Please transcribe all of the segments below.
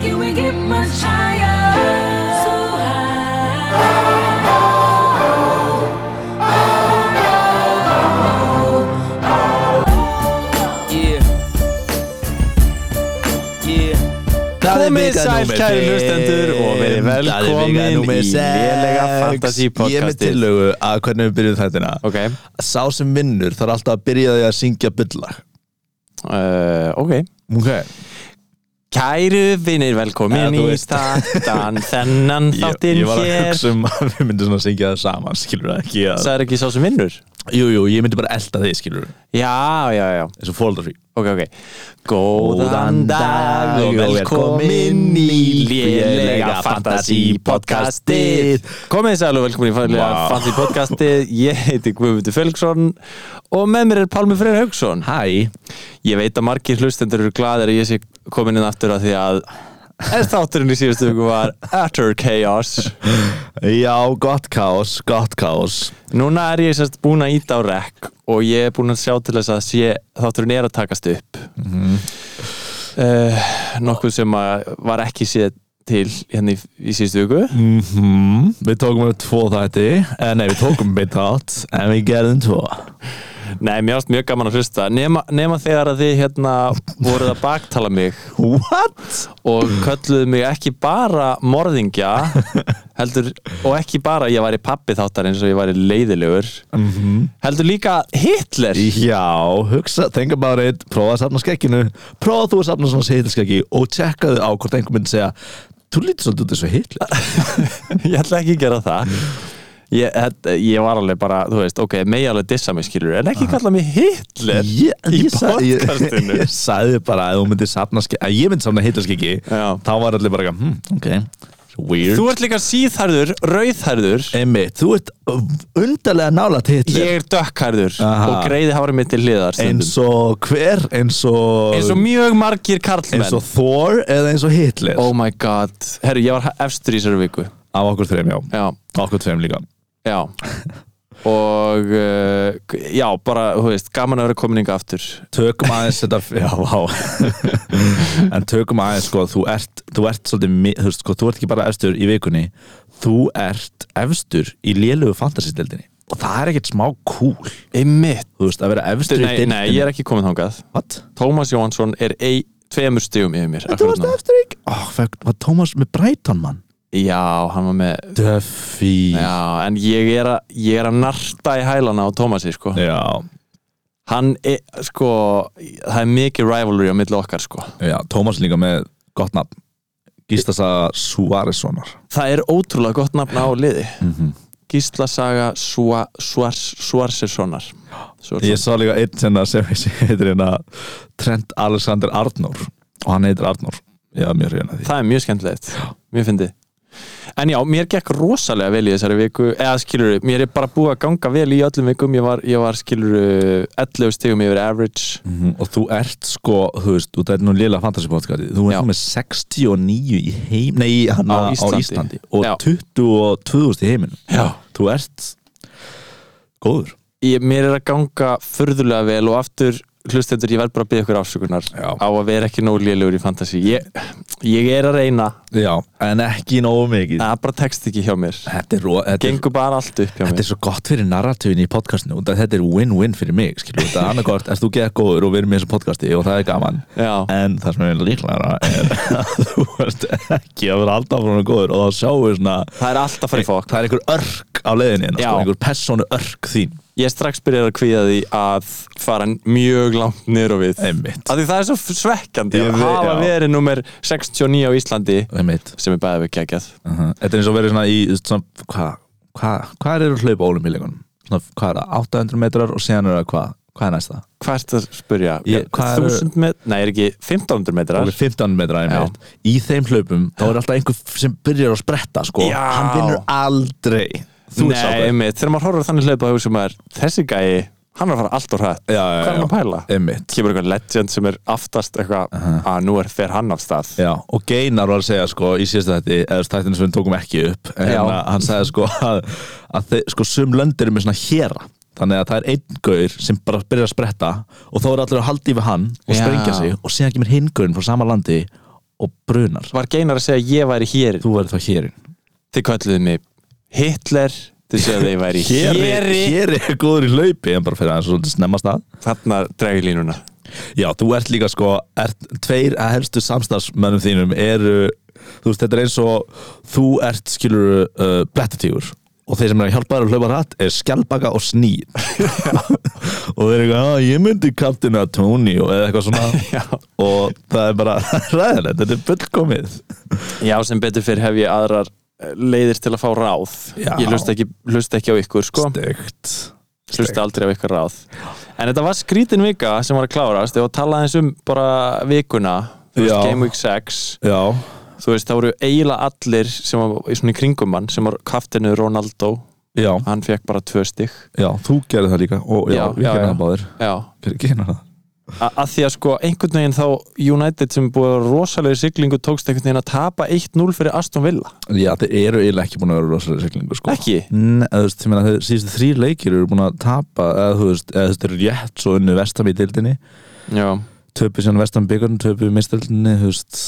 Can we get much higher? So high. Yeah Yeah Það er Komið vika sæl, númer kæru fimm. hlustendur, og verið Það er vika velkomin númer í sex. lélega fantasy Ég er með podcastið. tillögu að hvernig við byrjum þættina Ok, Sá sem vinnur þarf alltaf að byrja því að syngja bylla uh, Eh, ok okay. Kæru vinnir, velkomin Ja, þú í veist. startan þennan ég, þáttinn ég var að hér hugsa um að við myndum svona að syngja það saman skilur það ekki að Það er ekki sá sem vinnur Jú, jú, ég myndi bara elta þig skilur Já, já, já, eins og fóldar frí ok, ok Góðan dag og velkomin í lélega fantasy podcastið Komið sæl og velkomin í lélega Vá. fantasy podcastið Ég heiti Guðmundur Fölgsson og með mér er Pálmi Freyr Haugsson Hæ Ég veit að margir hlustendur eru glaðir að ég sé komin inn aftur að því að þátturinn í síðustu viku var utter chaos Já, gott kás, gott kás Núna er ég sérst búin að íta á rekk og ég er búin að sjá til þess að sé, þátturinn er að takast upp mm nokkuð sem að var ekki séð til hérna í, í síðustu viku mm Við tókum upp tvo þætti eh, Nei, við tókum beitt átt En við gerðum tvo Nei, mér varst mjög gaman að hlusta nema, nema þegar að þið hérna voruð að baktala mig What? og kölluðu mig ekki bara morðingja heldur, og ekki bara að ég væri pappi þáttar eins og ég væri leiðilegur Mhm. heldur líka Hitler Já, hugsa, think about it Prófa að safna skekkinu Prófa þú að safna svona heitilskekki Og tjekkaðu á hvort einhver myndi segja Þú lítur svolítið út þessu heitli ég ætla ekki að gera það ég, þetta- ég var alveg bara, þú veist, ok megi alveg dissa mig skilur, en ekki kalla mig Hitler Ég, í ég, sagði- ég, podcastinu. ég sagði bara að þú myndir safna skekki Að ég myndi safna heitilskekki Já. Þá var allir bara, hm, ok Weird þú ert líka síðharður, rauðharður Einmitt, þú ert undarlega nála til Hitler ég er dökkarður Aha. og greiði hárið mitt til hliðar stundum. eins og hver, eins og eins og mjög margir karlmenn eins og Thor eða eins og Hitler oh my god, herru, ég var efstur í þessari viku af okkur þreim, já, já okkur þreim líka Já Og uh, já, bara, þú veist, gaman að vera komin inga aftur tökum aðeins þetta já, vá en tökum aðeins, sko, þú ert þú ert svolítið, mi- þú veist, sko, þú ert ekki bara efstur í vikunni, þú ert efstur í lélugu fantasy-deldinni og það er ekkert smá cool Einmitt þú veist, að vera efstur í Nei, nei, ég er ekki komin þangað what? Tómas Jóhansson er ei, tveimur stigum yfir mér þú akkurat varst núna. efstur í oh, fæk, var Tómas með Brighton, mann Já, hann var með Duffy já, Já, en ég er, að, ég er að narta í hælana á Tómasi, sko já, Hann er, sko, það er mikið rivalry á milli okkar, sko já Tómas líka með gott nafn Gístasa Suaressonar Það er ótrúlega gott nafn á liði Mhm. Gísla Saga Sua- Suars- Suarsesonar Ég Suarsesonar. sá líka einn hérna sem sem heitir hérna Trent Alexander Arnór og hann heitir Arnór Já, mjög hrifin að því það er mjög skemmtilegt mjög fyndið En já, mér gekk rosalega vel í þessari viku eða skilur, mér er bara búið að ganga vel í öllum vikum, ég var, ég var skilur 11 stegum yfir average Mhm, Og þú ert sko, þú veist, þú ert nú lila fantasy podcasti Þú Já. ert nú með 69 í heim Nei, hann á, Á Íslandi. Íslandi Og Já. 22.000 í heiminum Já. Þú ert góður ég, Mér er að ganga furðulega vel og aftur hlustendur, ég verð bara að byggja ykkur afsökunar Já. á að vera ekki nóg lélugur í fantasi ég, ég er að reyna, Já, en ekki nógu mikið en það bara tekst ekki hjá mér Þetta er, ro- þetta er gengur bara allt upp hjá Þetta mér er svo gott fyrir narratífin í podcastinu út af Þetta er win-win fyrir mig skilur, Þetta er annarkort, ert þú geða góður og við erum í þessu podcasti og það er gaman Já. En það sem er líklega er að þú ert ekki að vera alltaf frá góður og þá sjáum við svona Það er alltaf að fara í fokk Það er einhver örk á leiðinni hérna, sko, Já. einhver persónu örk þín Ég er strax byrjar að kvíða því að fara mjög langt niður og við Einmitt, að því það er svo svekkjandi Ég að vei- hafa já. verið nummer 69 á Íslandi einmitt sem er bæðið við geggjað uh Þetta er eins og verið svona í svona, Hvað hva, hva er að hlaupa ólumbíleikunum? Hvað er það? 800 metrar og síðan er það hvað? Hvað er næsta? hvað er þetta að spyrja? Ég- hvað eru- 1000 metrar? Nei, er ekki 1500 metrar? alveg 15 metra einmitt í þeim hlaupum þá er alltaf einhver sem byrjar að spretta sko Já. hann vinnur aldrei þú sko. Nei, einmitt, þegar maður horfður þannig hlaupa hugsa maður, þessi gæi, hann er að fara allt og hrætt hvað er hann að pæla? einmitt kemur eitthvað legend sem er aftast eitthvað að nú er fer hann af stað Já, og Geinar var að segja sko í síðasta þætti, eða þættinu sem við tókum ekki upp en Já. hérna, hann sagði sko að, að þeir, sko sum löndir er með svona héra þannig að það er einn gaur sem bara byrjar að spretta og þá er allir að halda í við hann og Já. sprengja sig og síðan kemur hinn gaurinn frá sama landi og brunar var geinar að segja að ég væri hér þú verður þá hérinn þið kölluðu mig Hitler þið segja að ég væri hér hér er góður í laupi en bara fyrir aðeins svolítið snemma af stað þarna dregi línuna já, þú ert líka sko ert, tveir að helstu samstarfsmönnum þínum eru, þú veist, þetta er eins og þú ert, skilur, uh, blettatígur og þeir sem er að hjálpa þér að hlaupa rætt er skjálpaka og snýr og þeir eru eitthvað, "Ah, ég myndi kaptina Tony og eða eitthvað Já. svona og það er bara ræðilegt, þetta er fullkomið já sem betur fyrir hef ég aðrar eh, leiðir til að fá ráð Já. ég hlusta ekki, hlusta ekki á ykkur sko Stegt hlusta aldrei á ykkur ráð en þetta var skrítin vika sem var að klárast og talaði eins um bara vikuna þú veist, Já. Game Week 6 Já, þú veist, það voru eiginlega allir sem var í svona í kringum hann sem var kaftinu Ronaldo, já, hann fekk bara tvö stygg já, þú gerði það líka og já, Já, við já, gerðum já. það báðir já, Gerðu ekki hérna það A að því að sko einhvern veginn þá United sem búið að rosalegi siglingu tókst einhvern veginn að tapa 1-0 fyrir Aston Villa Já, þeir eru eiginlega ekki búin að vera rosalega siglingu sko. ekki, Nei, þú veist, ég meina, þeir síðustu þrý leikir eru búin að tapa eða þú veist, eða þú veist, þeir eru rétt svo unnu vestam í dildinni já, töpu síðan vestam byggarn, töpu í mistildinni þú veist,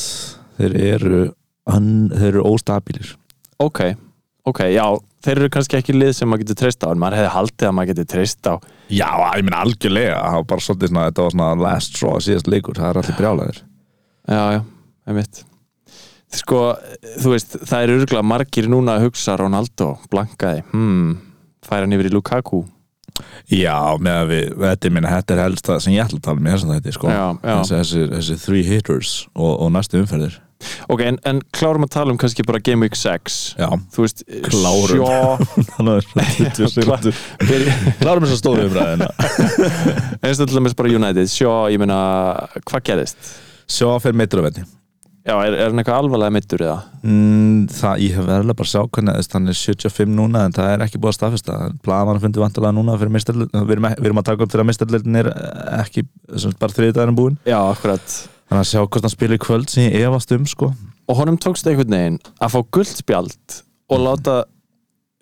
þeir eru hann, þeir eru óstabilir ok ok, já, þeir eru kannski ekki lið sem maður getur treyst á en maður hefði haldið að maður getur treyst á Já, ég meina algjörlega, það var bara svolítið svona þetta var svona last straw síðast leikur, það er allir brjálæðir Já, já, einmitt Sko, þú veist, það er örgulega margir núna að hugsa Ronaldo, blankaði hmm, færa hann yfir í Lukaku Já, með að við, þetta, er, minna, þetta er helst það sem ég ætla að tala með þessum þetta sko. Já, já, þessi, þessi, þessi three hitters og, og næstu umferðir ok, en, en klárum að tala um kannski bara Game Week 6 Já, Þú veist, Klárum. sjó, þannig Já, klá- byrja- Klárum þess að stóru umræðina eins og til dæmis bara United Sjó, ég meina, hvað gerðist? Sjá að fyrir meitur að venni Já, er, er hann eitthvað alvarlega meittur eða? mm, Það, ég hef verðilega bara að sjá hvernig þess, hann er 75 núna en það er ekki búið að staðfesta Blaðamann fundi vantilega núna fyrir mistarlið við, erum ek- við erum að taka upp þegar mistarliðin er eh, ekki sem sagt bara þriðdæðin búin Já, akkurat Þannig að sjá hvort hann spilir í kvöld sem ég efast um sko og honum tókst einhvern veginn að fá guldspjald og láta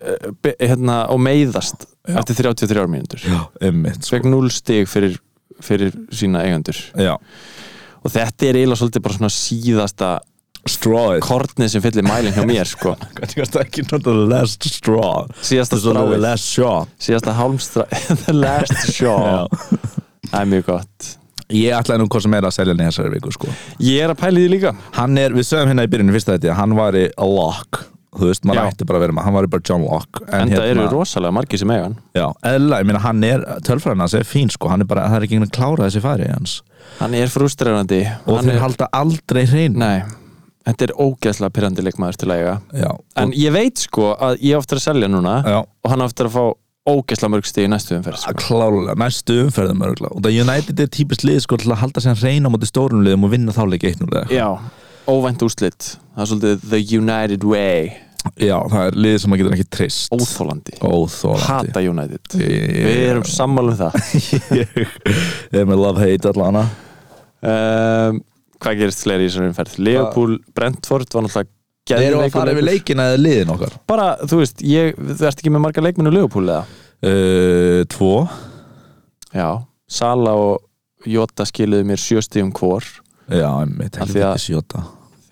eh, be, hérna, og meiðast Já. eftir 33 mínútur Já, einmitt sko fekk 0 stig fyrir, fyrir sína eigendur Já, og þetta er eiginlega svolítið bara svona síðasta straw it kornið sem fyllir mælinn hjá mér sko. Hvernig varst það ekki nota the last straw síðasta Þetta er svona the stráið, last shot síðasta hálmstra the last Já. shot það er mjög gott Ég ætlaði nú hvað sem er að selja hann í þessari viku sko ég er að pæli því líka Hann er, við sögum hérna í byrjunum fyrst að þetta Hann væri a lock Þú veist, maður Já. ætti bara að vera með Hann væri bara John hérna- Locke en það eru rosalega margir sem eiga hann Já, eðla, ég meina hann er Tölfræðan hans er fín sko Hann er bara, það er ekki einhvern að klára þessi færi hans hann er frustrerandi Og hann þeir er, halda aldrei hrein nei, þetta er ógæslega pyrrandi leikmaður til að eiga Já, en og, ég veit sko að ég á eftir að selja núna já og hann á eftir að fá ógæslega mörg stig í næstu umferð sko. Klálega, næstu umferðum örgulega Og það United er típist lið sko til að halda sér hrein á móti stórum liðum og vinna þá leik 1-0 Já, óvænt úrslit Það er svolítið the United way Já, það er lið sem maður getur ekki trist Óþólandi, Óþólandi hata United Ég- Við erum sammála um það Ég er með love-hate allana um, Hvað gerist fleiri í þessari umferð? Leopool, Brentford var náttúrulega Erum við geðveikur að fara yfir leikur. leikina eða liðin okkar? Bara, þú veist, ég, þú ert ekki með marga leikmennu Leopool eða? Uh, tvo Já, Sala og Jota skiluðu mér sjöstíum hvor Já, einmitt, Af því að- helviti sjóta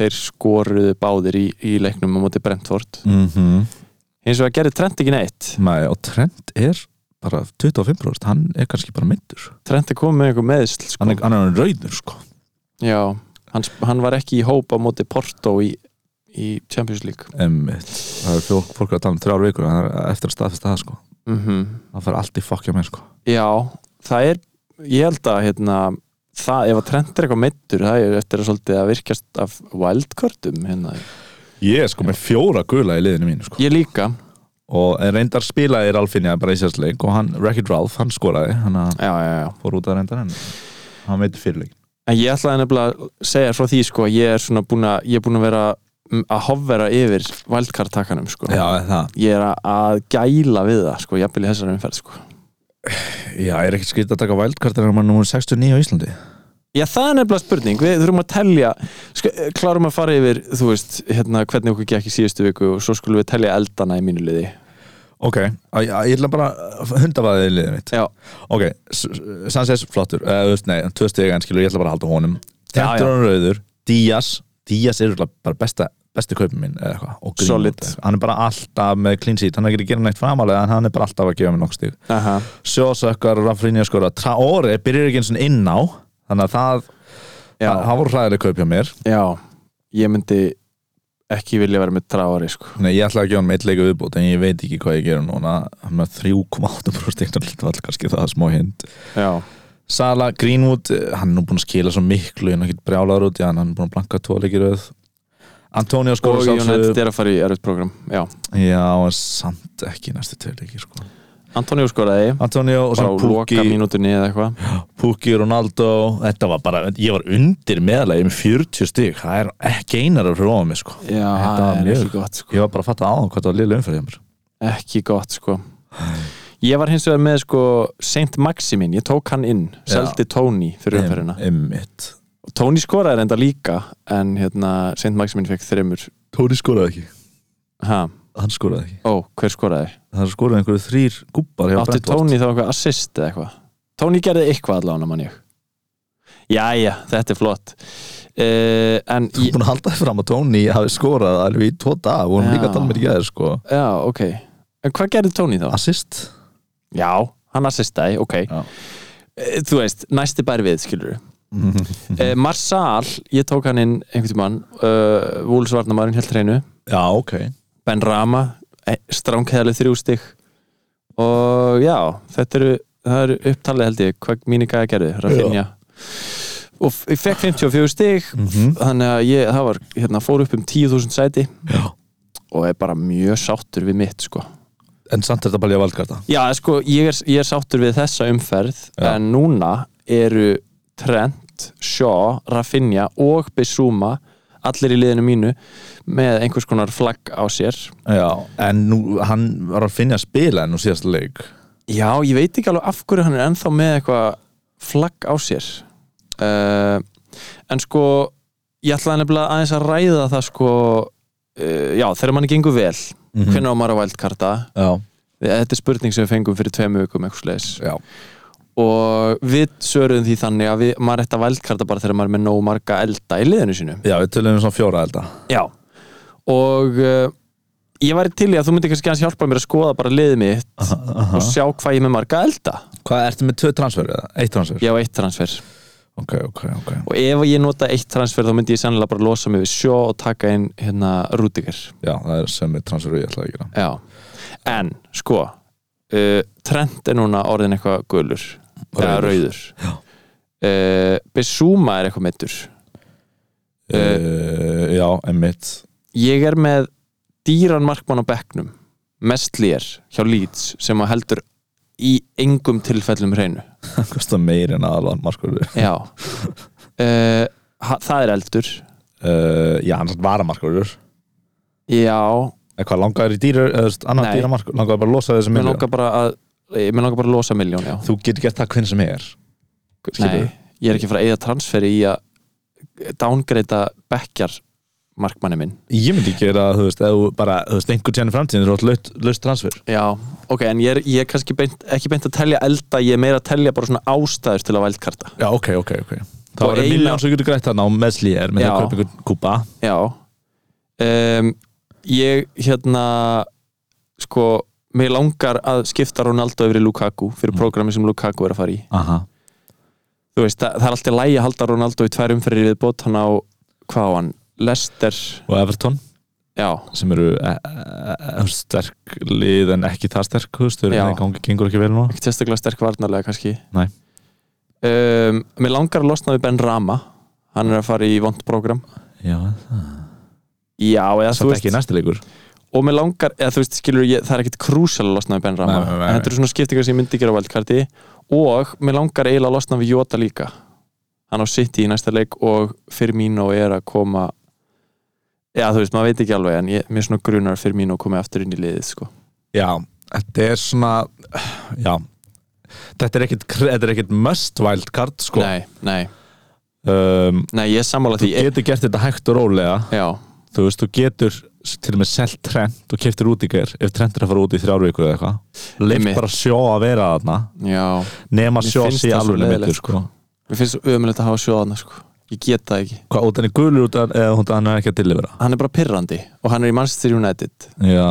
Þeir skoruðu báðir í, í leiknum á móti Brentford mm Mm-hmm. -hmm. Hins vegar gerði Trent ekki neitt Nei, og Trent er bara 25% hann er kannski bara myndur Trent er komið með einhver meðsl sko. hann er, hann er rauður sko Já, hann, hann var ekki í hópa móti Porto í, í Champions League einmitt. það er fólk, fólk er að tala um þrjár vikur en það er eftir að staðfesta það sko mm það fær allt í fokkja með sko Já, það er ég held að hérna það, ef að Trent er eitthvað meittur það er eftir að svolítið að virkjast af wildcardum hérna. Ég er sko með fjóra gula í liðinu mínu sko Ég líka, og reyndar spilaði Ralfinja bara í sérsleik og hann, Wreck-It Ralph, hann skoraði hann já, já, já fór út að reyndar hann hann veitir fyrirleik En ég ætlaði nefnilega að segja frá því sko að ég er svona búin að, ég er búin að vera mm, að hofvera yfir wildcard takanum sko Já, það Ég er að- að gæla við það sko, jafnvel í þessari umferð sko Já, er ekkert skriðt að taka vældkartar en hann er 69 á Íslandi Já, það er nefnilega spurning, við þurfum að telja sko, klárum að fara yfir, þú veist hérna, hvernig okkur gekk í síðustu viku og svo skulum við telja eldana í mínu liði Ok, að, að, ég ætla bara að hundafaði í liðið mitt Já, Ok, S- S- Eh, Sanchez flottur, eða þú veist, nei, tvö stiga en skilur, ég ætla bara að halda honum Já, já. Tentur hann rauður, Díaz Díaz er örugglega bara besta, besti kaupin minn eða eitthvað og Greenwood Solid. eitthvað. hann er bara alltaf með clean sheet, hann er ekki að gera neitt framalega en hann er bara alltaf að gefa mér nokk stig Aha. Sjósökkar, Rafrinja skora Traore byrjar ekki eins og inn á þannig að það, Já, það, það voru hræðileg kaup hjá mér já, ég myndi ekki vilja vera með tráari sko. Nei, ég ætlaði að gefa hann með leika viðbútt en ég veit ekki hvað ég gera núna Hann er með 3,8% eignarhlut kannski það er smá hind Já, Sala Greenwood, eh, hann er nú búin að skila svo miklu, hann er ekki brjálaður út í hann hann er búin að blanka tvoleikir auð Antonio og skora Jónætt sjálfsögðu er að fara í erfitt program Já, Já, en samt ekki næstu tvoleikir sko. Antonio skoraði Antonio og bara á svo loka Puki, mínútunni eða eitthvað Puki, Ronaldo þetta var bara, ég var undir meðalagi með 40 stig, það er ekki einar að róa mig sko, Já, Þetta það var er mjög- ekki gott sko. ég var bara að fatta á hvað það var liðlega umfyrir hjá mér ekki gott sko Ég var hins vegar með sko Saint Maximin, ég tók hann inn Já. seldi Tony fyrir umferðina Emmitt Tony skoraði reynda líka en hérna Saint Maximin fekk þreymur Tóri skoraði ekki, ha, hann skoraði ekki ó, hver skoraði? það skoraði einhverju þrýr gubbar hjá Átti Brentford. Tony þá eitthvað assist eða eitthvað Tony gerði eitthvað allan mann ég Jæja, þetta er flott uh, En Þú er ég, búin að halda þér fram að Tony hafi skorað alveg í tvo dag, við vorum Já. líka að tala með gæðir sko. já, ok En hvað gerði Tony þá? Assist Já, hann assistaði, ok Já. Eh, Þú veist, næsti bær við, skilur uh, Marsal, ég tók hann inn einhvern tímann uh, Vúls Varnamærin held hreinu Já, ok Ben Rama, e, stránkæðalið þrjú stig og já þetta eru, það eru upptalið held ég hvað mínu gæði gerði, Rafinha og f- ég fekk 54 stig þannig að ég, það var hérna, fór upp um 10.000 sæti Já. og er bara mjög sáttur við mitt sko En samt er þetta bara ég að valkarta Já, sko, ég er, ég er sáttur við þessa umferð Já. en núna eru Trent, Shaw, Rafinha og Bissúma allir í liðinu mínu með einhvers konar flagg á sér Já, en nú, hann var að finna að spila en nú síðast leik Já, ég veit ekki alveg af hverju hann er ennþá með eitthvað flagg á sér uh, en sko ég ætlaði nefnilega aðeins að ræða það sko uh, já, þegar manni gengur vel mm hvernig á maður að vældkarta Já, þetta er spurning sem við fengum fyrir tveimu vikum eitthvað slegis já, og við svöruðum því þannig að við, maður ætti að vældkarta bara þegar maður er með nóg marga elda í liðinu sínu já, við tölum um svona fjóra elda Já og uh, ég væri til í að þú myndir kannski hans hjálpa mér að skoða bara liðið mitt og sjá hvað ég er með marga elda Hvað, ertu með tvö transfer eða? Eitt transfer? ég á eitt transfer Ok, ok, ok og ef ég nota eitt transfer þá myndi ég sennilega bara losa mig við sjó og taka inn hérna Rúdiger Já, það er sem við transfer og ég ætlaði að gera Já. en sko uh, Trent er núna orðin eitthvað gulur eða rauður uh, Besúma er eitthvað meittur uh, Já, emmitt ég er með dýran markmann á bekknum mestlir hjá Leeds sem að heldur í engum tilfellum hreinu Það kostar meir en aðalvan markur já uh, það er eldur uh, Já, hann var að markur já, eða hvað langaður í dýrar eða þú veist, annar Nei. dýramark langaður bara að losa þessi mér miljón langar bara að ég mér langar bara að losa miljón, já þú getur gert það hvern sem er Nei, ég er ekki að fara að eigða transferi í að dángreita bekkjar markmanni minn ég myndi gera þú veist eða þú bara þú veist einhvern tjánir framtíðin þú átt laust- laust transfer já, ok, en ég er, ég er kannski beint, ekki beint að telja elda, ég er meira að telja bara svona ástæður til að vældkarta já ok ok ok þá Og er eina- miljón sem getur greitt þarna á meðsli er með því Já. að kaupa einhvern kúpa Já um, Ég hérna sko, mér langar að skipta Ronaldo yfir í Lukaku fyrir prógrami sem Lukaku er að fara í aha Þú veist, það, það er alltaf lægi að halda Ronaldo í tvær umferðir við bót hann á, hvað á hann Lester, og Everton já, sem eru e, e, e, sterk lið en ekki það sterk þú veist þau Já. eru gangi gengur ekki vel nú ekkert sérstaklega sterk varnarlega kannski Nei. um, Mér langar að losna við Ben Rama hann er að fara í vond prógram já Já, eða þú það er veist ekki næsti leikur og mér langar, eða þú veist, skilur ég, það er ekkit krúsal að losna við Ben Rama, Nei, nei, nei, en þetta eru svona skiptingar sem ég myndi gera á valdkarti og mér langar eiginlega að losna við Jota líka hann á City í næsta leik og Firmino er að koma já þú veist, maður veit ekki alveg en ég, mér svona grunar að Firmino komi aftur inn í liðið sko. já þetta er svona já þetta er ekkit þetta er ekkit must wild card sko nei, nei, um, nei, ég er sammála þú því ég, getur gert þetta hægt og rólega já, þú veist, þú getur s- til og með selt trend og keftir út í ger ef trend er að fara út í þrjár vikur eða eitthvað leif Einmitt. bara sjó að vera þarna já nema Mér sjó finnst sé það svo alveg leiðilegt, mittur sko. mér finnst svo ömulegt að hafa sjóðana sko. ég get það ekki Hvað, út hann er gulur út hann, eða út hann er ekki að tilifera? hann er bara pirrandi og hann er í Manchester United Já,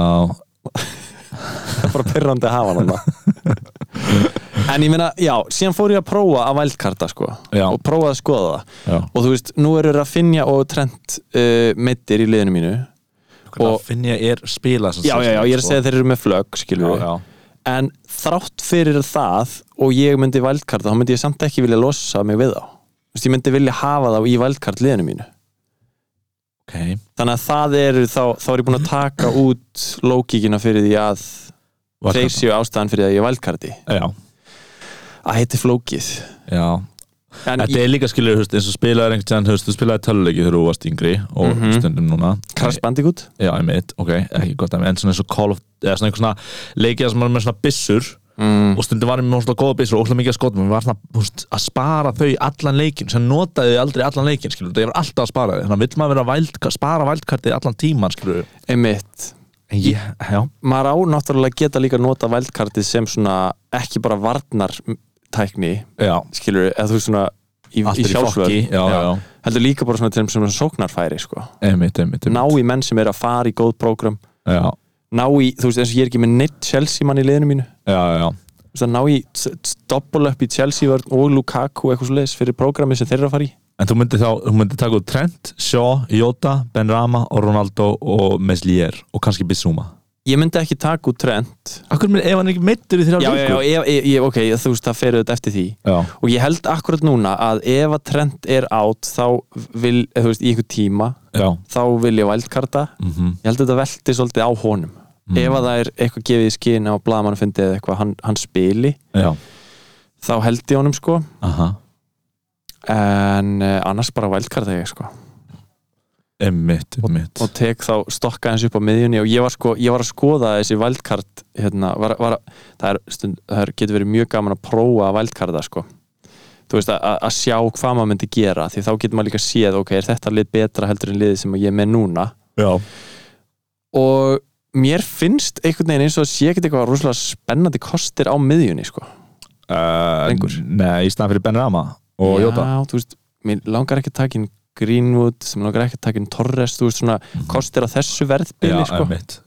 það er bara pirrandi að hafa hann þarna. en ég meina, já, síðan fór ég að prófa að vældkarta sko Já. og prófa að skoða það já. og þú veist, nú eru Rafinha og Trent uh, meittir í liðinu mínu Og finn ég er spila já, já, já, ég er að segja þeir eru með flögg skilur við, en þrátt fyrir það og ég myndi vældkarta, þá myndi ég samt ekki vilja losa mig við þá Þú veist, ég myndi vilja hafa þá í vældkart liðinu mínu Ok, þannig að það eru þá, þá er ég búin að taka út lókíkina fyrir því að Var þeir það- séu ástæðan fyrir því að ég er vældkarti Já, að heiti flókið já en Þetta ég, er líka skilur, þú veist, eins og spilaðar einhvern tíðan, þú veist, þú spilaði töluleiki þegar þú varst yngri og Mhm. stundum núna Crash Bandicoot Já, ég mitt, ok, ekki gott dæmi, en svona eins og Call of, eða svona einhver svona leikið þar sem maður er með svona byssur mm. og stundum varum með svona góða byssur og óslega mikið að skotum og var svona þú veist, að spara þau í allan leikin sem notaði þau aldrei í allan leikin, skilur, það var alltaf að spara þau þannig að vill maður vera að væld, spara vældkartið allan tíman, skilur, einmitt en ég, já maður á náttúrulega að geta líka að nota vældkartið sem svona ekki bara varnar tækni, Já, skilur eða þú veist svona í, allt í er í sjálfsvörn fokki Já, já, heldur líka bara svona til sem svona sóknarfæri sko. einmitt, einmitt, ná einmitt. í menn sem er að fara í góð prógram Já, ná í, þú veist eins og ég er ekki með neitt Chelsea mann í liðinu mínu já, já, Þú veist, að ná í t- t- double up í Chelsea vörn og Lukaku eitthvað svo leiðis fyrir prógrami sem þeir eru að fara í en þú myndir þá, þú myndir taka út Trent, Shaw, Jota, Benrama og Ronaldo og Meslier og kannski Bissuma ég myndi ekki taka út trend Akkur minn, ef hann er ekki meittur í þrjá já, já, já, ég, ég, ég, ok, þú veist það fer auðvitað eftir því já, og ég held akkurat núna að ef að trend er átt þá vil, eða þú veist, í einhver tíma já, þá vil ég vældkarta mhm ég held að þetta velti svolítið á honum Mm. ef að það er eitthvað gefið í skina og blaðmann fyndið eða eitthvað hann, hann spili Já, þá held ég honum sko aha, en uh, annars bara vældkarta ég sko emmitt, emmitt og tek þá stokka hans upp á miðjunni og ég var, sko, ég var að skoða þessi vældkart hérna, var, var, að- það, er, stund, það er, getur verið mjög gaman að prófa vældkarta sko þú veist að, að- að sjá hvað maður myndi gera því þá getur maður líka séð ok, er þetta lið betra heldur en liðið sem ég er með núna Já, og mér finnst einhvern veginn eins og að sé ekkert eitthvað rosalega spennandi kostir á miðjunni sko. uh, Lengur. Nei, í staðan fyrir Benrama og Jota Já, þú veist, mér langar ekki að taka inn Greenwood, sem langar ekki að taka inn Torres, þú veist svona Mhm. kostir á þessu verðbili sko. emmitt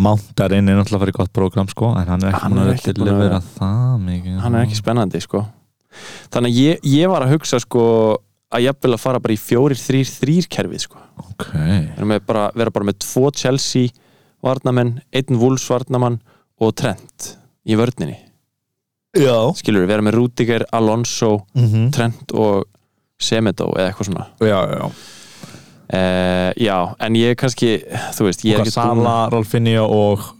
Mountarinn er náttúrulega fyrir gott prógram sko en hann er ekki Hann búin er að ekki búinn að delivera það mikið hann er ekki spennandi sko. þannig að ég, ég var að hugsa sko, að ég vil að fara bara í fjórir, þrýr, þrýr kerfið sko. Ok, Vera með bara, vera bara með tvo Chelsea varnamenn, einn Wolves varnamann og Trent í vörninni, já skilur við, vera með Rudiger, Alonso mm Trent og Semedo eða eitthvað svona Já, já, já uh, já, en ég er kannski þú veist, ég er Hvað ekki búinn- Sala, Rolfinja og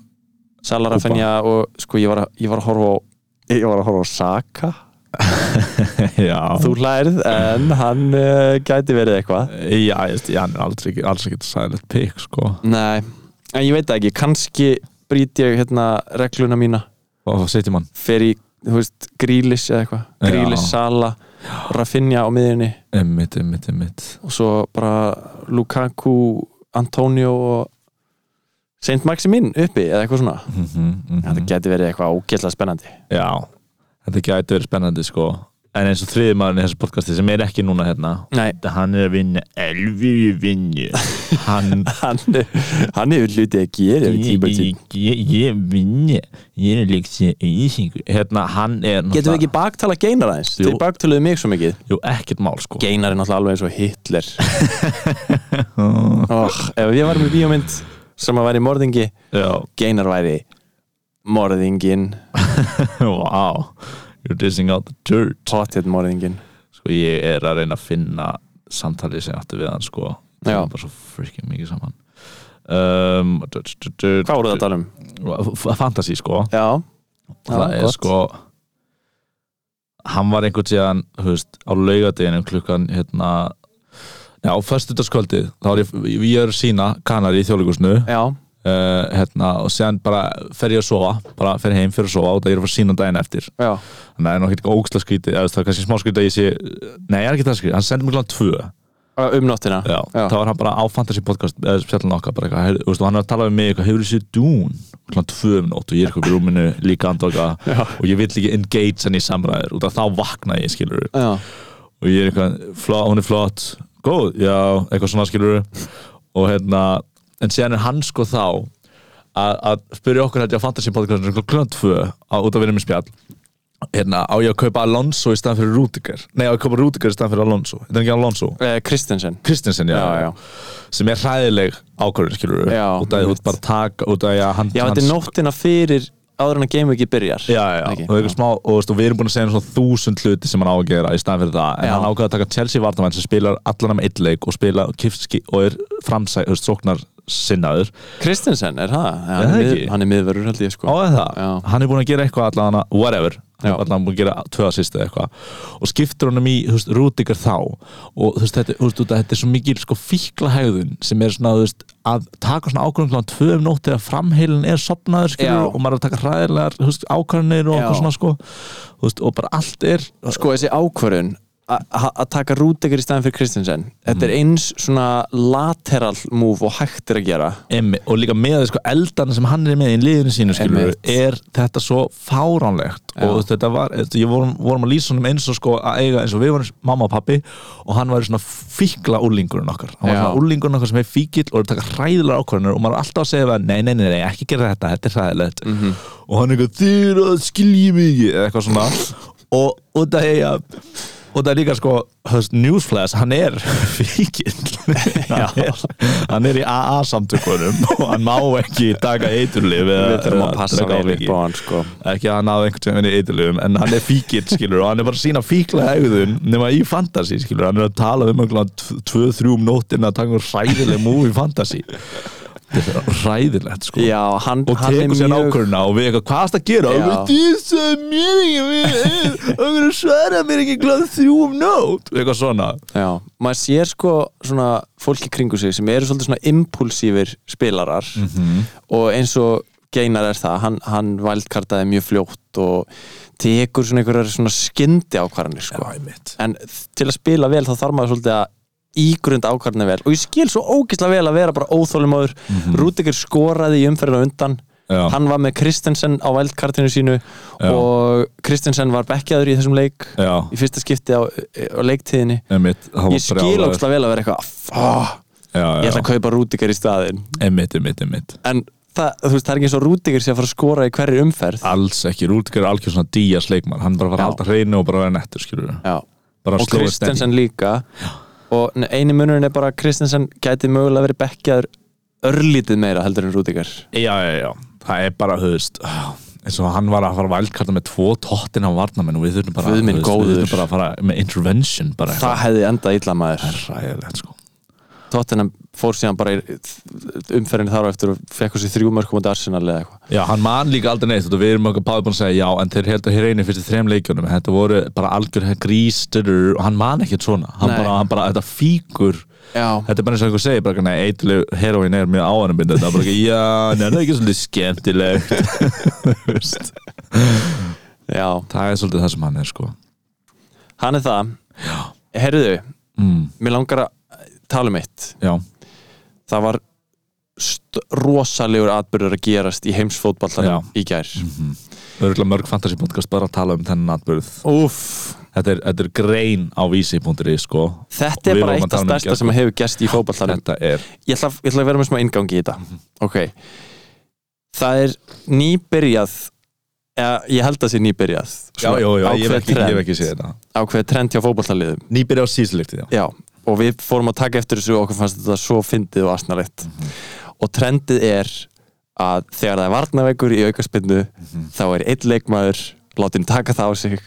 Sala Rafinha og sko ég var, að, ég var að horfa á ég var að horfa á Saka Já, þú lærið en hann uh, gæti verið eitthvað já, ég veist, já, hann er aldrei, ekki- alls ekki sæðilegt pikk sko nei, en ég veit það ekki kannski brýt ég hérna regluna mína og setjum hann fer í, þú veist, Grílis eða eitthvað Já. Grílis, Sala, Rafinha á miðjunni Emmitt, emmitt, emmitt og svo bara Lukaku, Antonio og Saint Maximin uppi eða eitthvað svona mm þetta gæti verið eitthvað ógeðslega spennandi Já, þetta gæti verið spennandi sko En eins og þriði maðurinn í þessu podcasti sem er ekki núna hérna Nei, Hann er að vinna elvi vinnu Hann hann, hann hefur hlutið að gera í Ég, tíma til ég, ég, ég vinni Ég er líkt sér auðsingur Hérna, hann er Getum við náttúrulega- ekki baktala geinar aðeins? Jú. Þeir baktaluðu mig svo mikið Jú, ekkert mál sko Geinar er náttúrulega alveg eins og Hitler oh, Ef ég var með bíómynd sem að væri morðingi Já, Geinar væri morðingin wow You're dissing out the dirt Pottet morðingin Sko, ég er að reyna að finna samtalið sem ég átti við hann sko Það Já. er bara svo freaking mikið saman um, Hvað voru það að tala um? tala? Fantasí sko Já, Já, það er gott. sko hann var einhvern tíðan veist, á laugadeginum klukkan hérna já, á föstudagskvöldið þá er ég, ég er sína kanari í þjóðleikusnu uh, já, hérna, og séðan bara fer ég að sofa bara fer heim fyrir að sofa og það er að fara sína daginn eftir já þannig að það er nokkuð eitthvað ógstla skrítið eða þú veist, það er kannski smá skrítið að ég sé nei, ég er ekki það skrítið, hann sendi mig glan tvö Ö, Um nóttina já, Já. þá var hann bara á fantasy podcast eða spjallin okkar bara eitthvað, heyrðu, þú veist, og hann er að tala um mig eitthvað, hefur þú séð dún klant tvö um nótt og ég er eitthvað í rúminu líka andoka Já. og ég vill ekki engage hann í samræður og þá vakna ég skilur Já, og og ég er eitthvað, flá, hún er flott góð, já, eitthvað svona skilur og hérna, en síðan er hann sko þá að, að spyrja okkur hætti á fantasy podcastinu klukkan tvö á út að vinna með spjall hérna, á ég að kaupa Alonso í staðan fyrir Rúdiger nei, á ég að kaupa Rúdiger í staðan fyrir Alonso þetta er ekki Alonso, Eh, Kristensen Kristensen, já, Já, já. sem er hræðileg ákvörðin, skilur við Já, út að þú einmitt. ert bara að taka, út að ég hann Já, þetta er nóttina fyrir áður en að gameweeki byrjar Já, já, Ekki? og, eitthvað smá, og, veist, og við erum búin að segja um svona þúsund hluti sem hann á að gera í staðan fyrir það en Já. hann ákveða að taka Chelsea vartamenn sem spilar allan með eitt leik og spila kifski og er framsæk, þú veist, sóknar sinnaður Kristensen, er það? Já, Er hann, það er mið, ekki? hann er miðverur held ég sko á eða það, Já. hann er búin að gera eitthvað allan að, whatever, hann Já. er allan búin að gera tvö assist eða eitthvað og skiptir honum í, þú veist, Rúdíkar þá og þú veist, þetta, þú veist, út að þetta er svo mikil sko fíklahegðun sem er svona, þú veist, að taka svona ákvörðum kláðan tvö um nótt þegar framheilin er sopnaður, skilur, Já. og maður er að taka hræðilegar, þú veist, ákvörðunir og Já. eitthvað svona, sko Þú veist, og bara allt er Sko, þessi ákvörðun að- að að taka Rúdegger í staðin fyrir Kristensen Þetta er eins svona lateral move og hægt er að gera Emmi, og líka með sko, eldana sem hann er með í liðinu sínu skilur, Einmitt. er þetta svo fáránlegt Já. og þetta var, þetta- ég vorum, vorum að lýsa honum eins og sko að eiga eins og við vorum mamma og pappi og hann var svona fíkla úlingurinn okkar, hann var Já. svona úlingurinn okkar sem er fíkil og er að taka hræðilega ákvörðunar og maður er alltaf að segja við hann, nei, nei, nei, nei, ekki gera þetta þetta er hræðilegt Mhm. og hann er eitthvað, þið eru að skilji mig ekki," eða eitthvað svona og, og það er að og það er líka sko, höfst, newsflash hann er fíkill hann, er- hann er í AA samtökunum og hann má ekki taka eiturlif Við þurfum að passa vel upp á hann sko ekki að hann hafa einhvern tímann í eiturlifum en hann er fíkill skilur og hann er bara að sína fíkla hegðun nema í fantasy skilur hann er að tala um einhvern tvö, þrjú um nóttin að taka um ræðileg múi í fantasy þetta er ræðilegt sko Já, hann, og hann er tekur sér mjög nákvæmna og við eitthvað, hvað er það að gera? Já. Og við þið sagði mér ekki og við erum svarað mér ekki gláð þrjú um nót eitthvað svona Já, maður sér sko svona fólki kringu sig sem eru svolítið svona impulsífir spilarar og eins og Geinar er það, hann, hann vældkartaði mjög fljótt og tekur svona einhverjar svona skyndi ákvarðanir sko. Æmitt en til að spila vel þá þarf maður svolítið að ígrunda ákvarðanir vel og ég skil svo ógislega vel að vera bara óþólimaður mm -hmm. skoraði í umferðinu undan Mhm. Já. hann var með Kristensen á vældkartinu sínu Já. og Kristensen var bekkjaður í þessum leik Já, í fyrsta skipti á, á leiktíðinni einmitt það var ég skil brjálæður. ógstlega vel að vera eitthvað "Ah, fuck, Já, ég ætla að já, kaupa Rúdiger í staðinn einmitt, einmitt, einmitt en það, þú veist, það er ekki eins og Rúdiger sé að fara að skora í hverju umferð Alls ekki, Rúdgar er algjör svona días leikmann Hann bara var Já. að halda hreinu og bara vera nettur, skilur við Já. Bara og slóið stending Kristensen líka og ne- eini munurinn er bara að Kristensen gæti mögulega verið bekkjaður örlítið meira heldur en Rúdiger Já, já, já, það er bara, þú veist eins og hann var að fara vælkarta með tvo tóttin á varnamenn og við þurfum bara, Guð minn þú veist, við góður. þurfum bara að fara með intervention bara það hefði endað illa maður eitthvað ræðilegt sko Tottenham fór síðan bara í umferðinu þar á eftir og fekk þessi þrjú mörg komandi Arsenal eða eitthvað Já, hann man líka aldrei neitt og við erum okkur báði búin að segja já, en þeir held að hér einu fyrst í þrem leikjunum þetta voru bara algjör grísturur og hann man ekkert svona, hann Nei. bara, hann bara þetta fíkur, Já, þetta er bara eins og einhver segir bara, nei, eitthvað heroin er mjög áhannabindandi það er bara ekki, já, neina, ekki svolítið skemmtilegt Þú veist. já, það er svolítið það sem hann er, sko hann er það Herðu, mm, mér langar að tala um eitt Já, það var st- rosalegur atbyrður að gerast í heimsfótballanum í gær Mhm. það eru mörg fantasy podcast bara að tala um þennan atbyrð Úff, þetta er, þetta er grein á vísi.ri, sko Við þetta er bara vorum að eitt af tala um í stærsta gær, sem hefur gerst í fótballanum þetta er, ég ætla, ég ætla að vera með smá ingangi í þetta ok það er nýbyrjað eða, ég held að það sé nýbyrjað já, já, já, ég hef ákveð ekki, ég hef ekki trend, séð þetta ákveð trend hjá fótballaliðum Nýbyrja á síðsleiktið, já já, og við fórum að taka eftir þessu og okkur fannst þetta svo fyndið og asnalegt Mhm. og trendið er að þegar það er varnaveikur í aukaspinnu Mhm. þá er einn leikmaður látin taka það á sig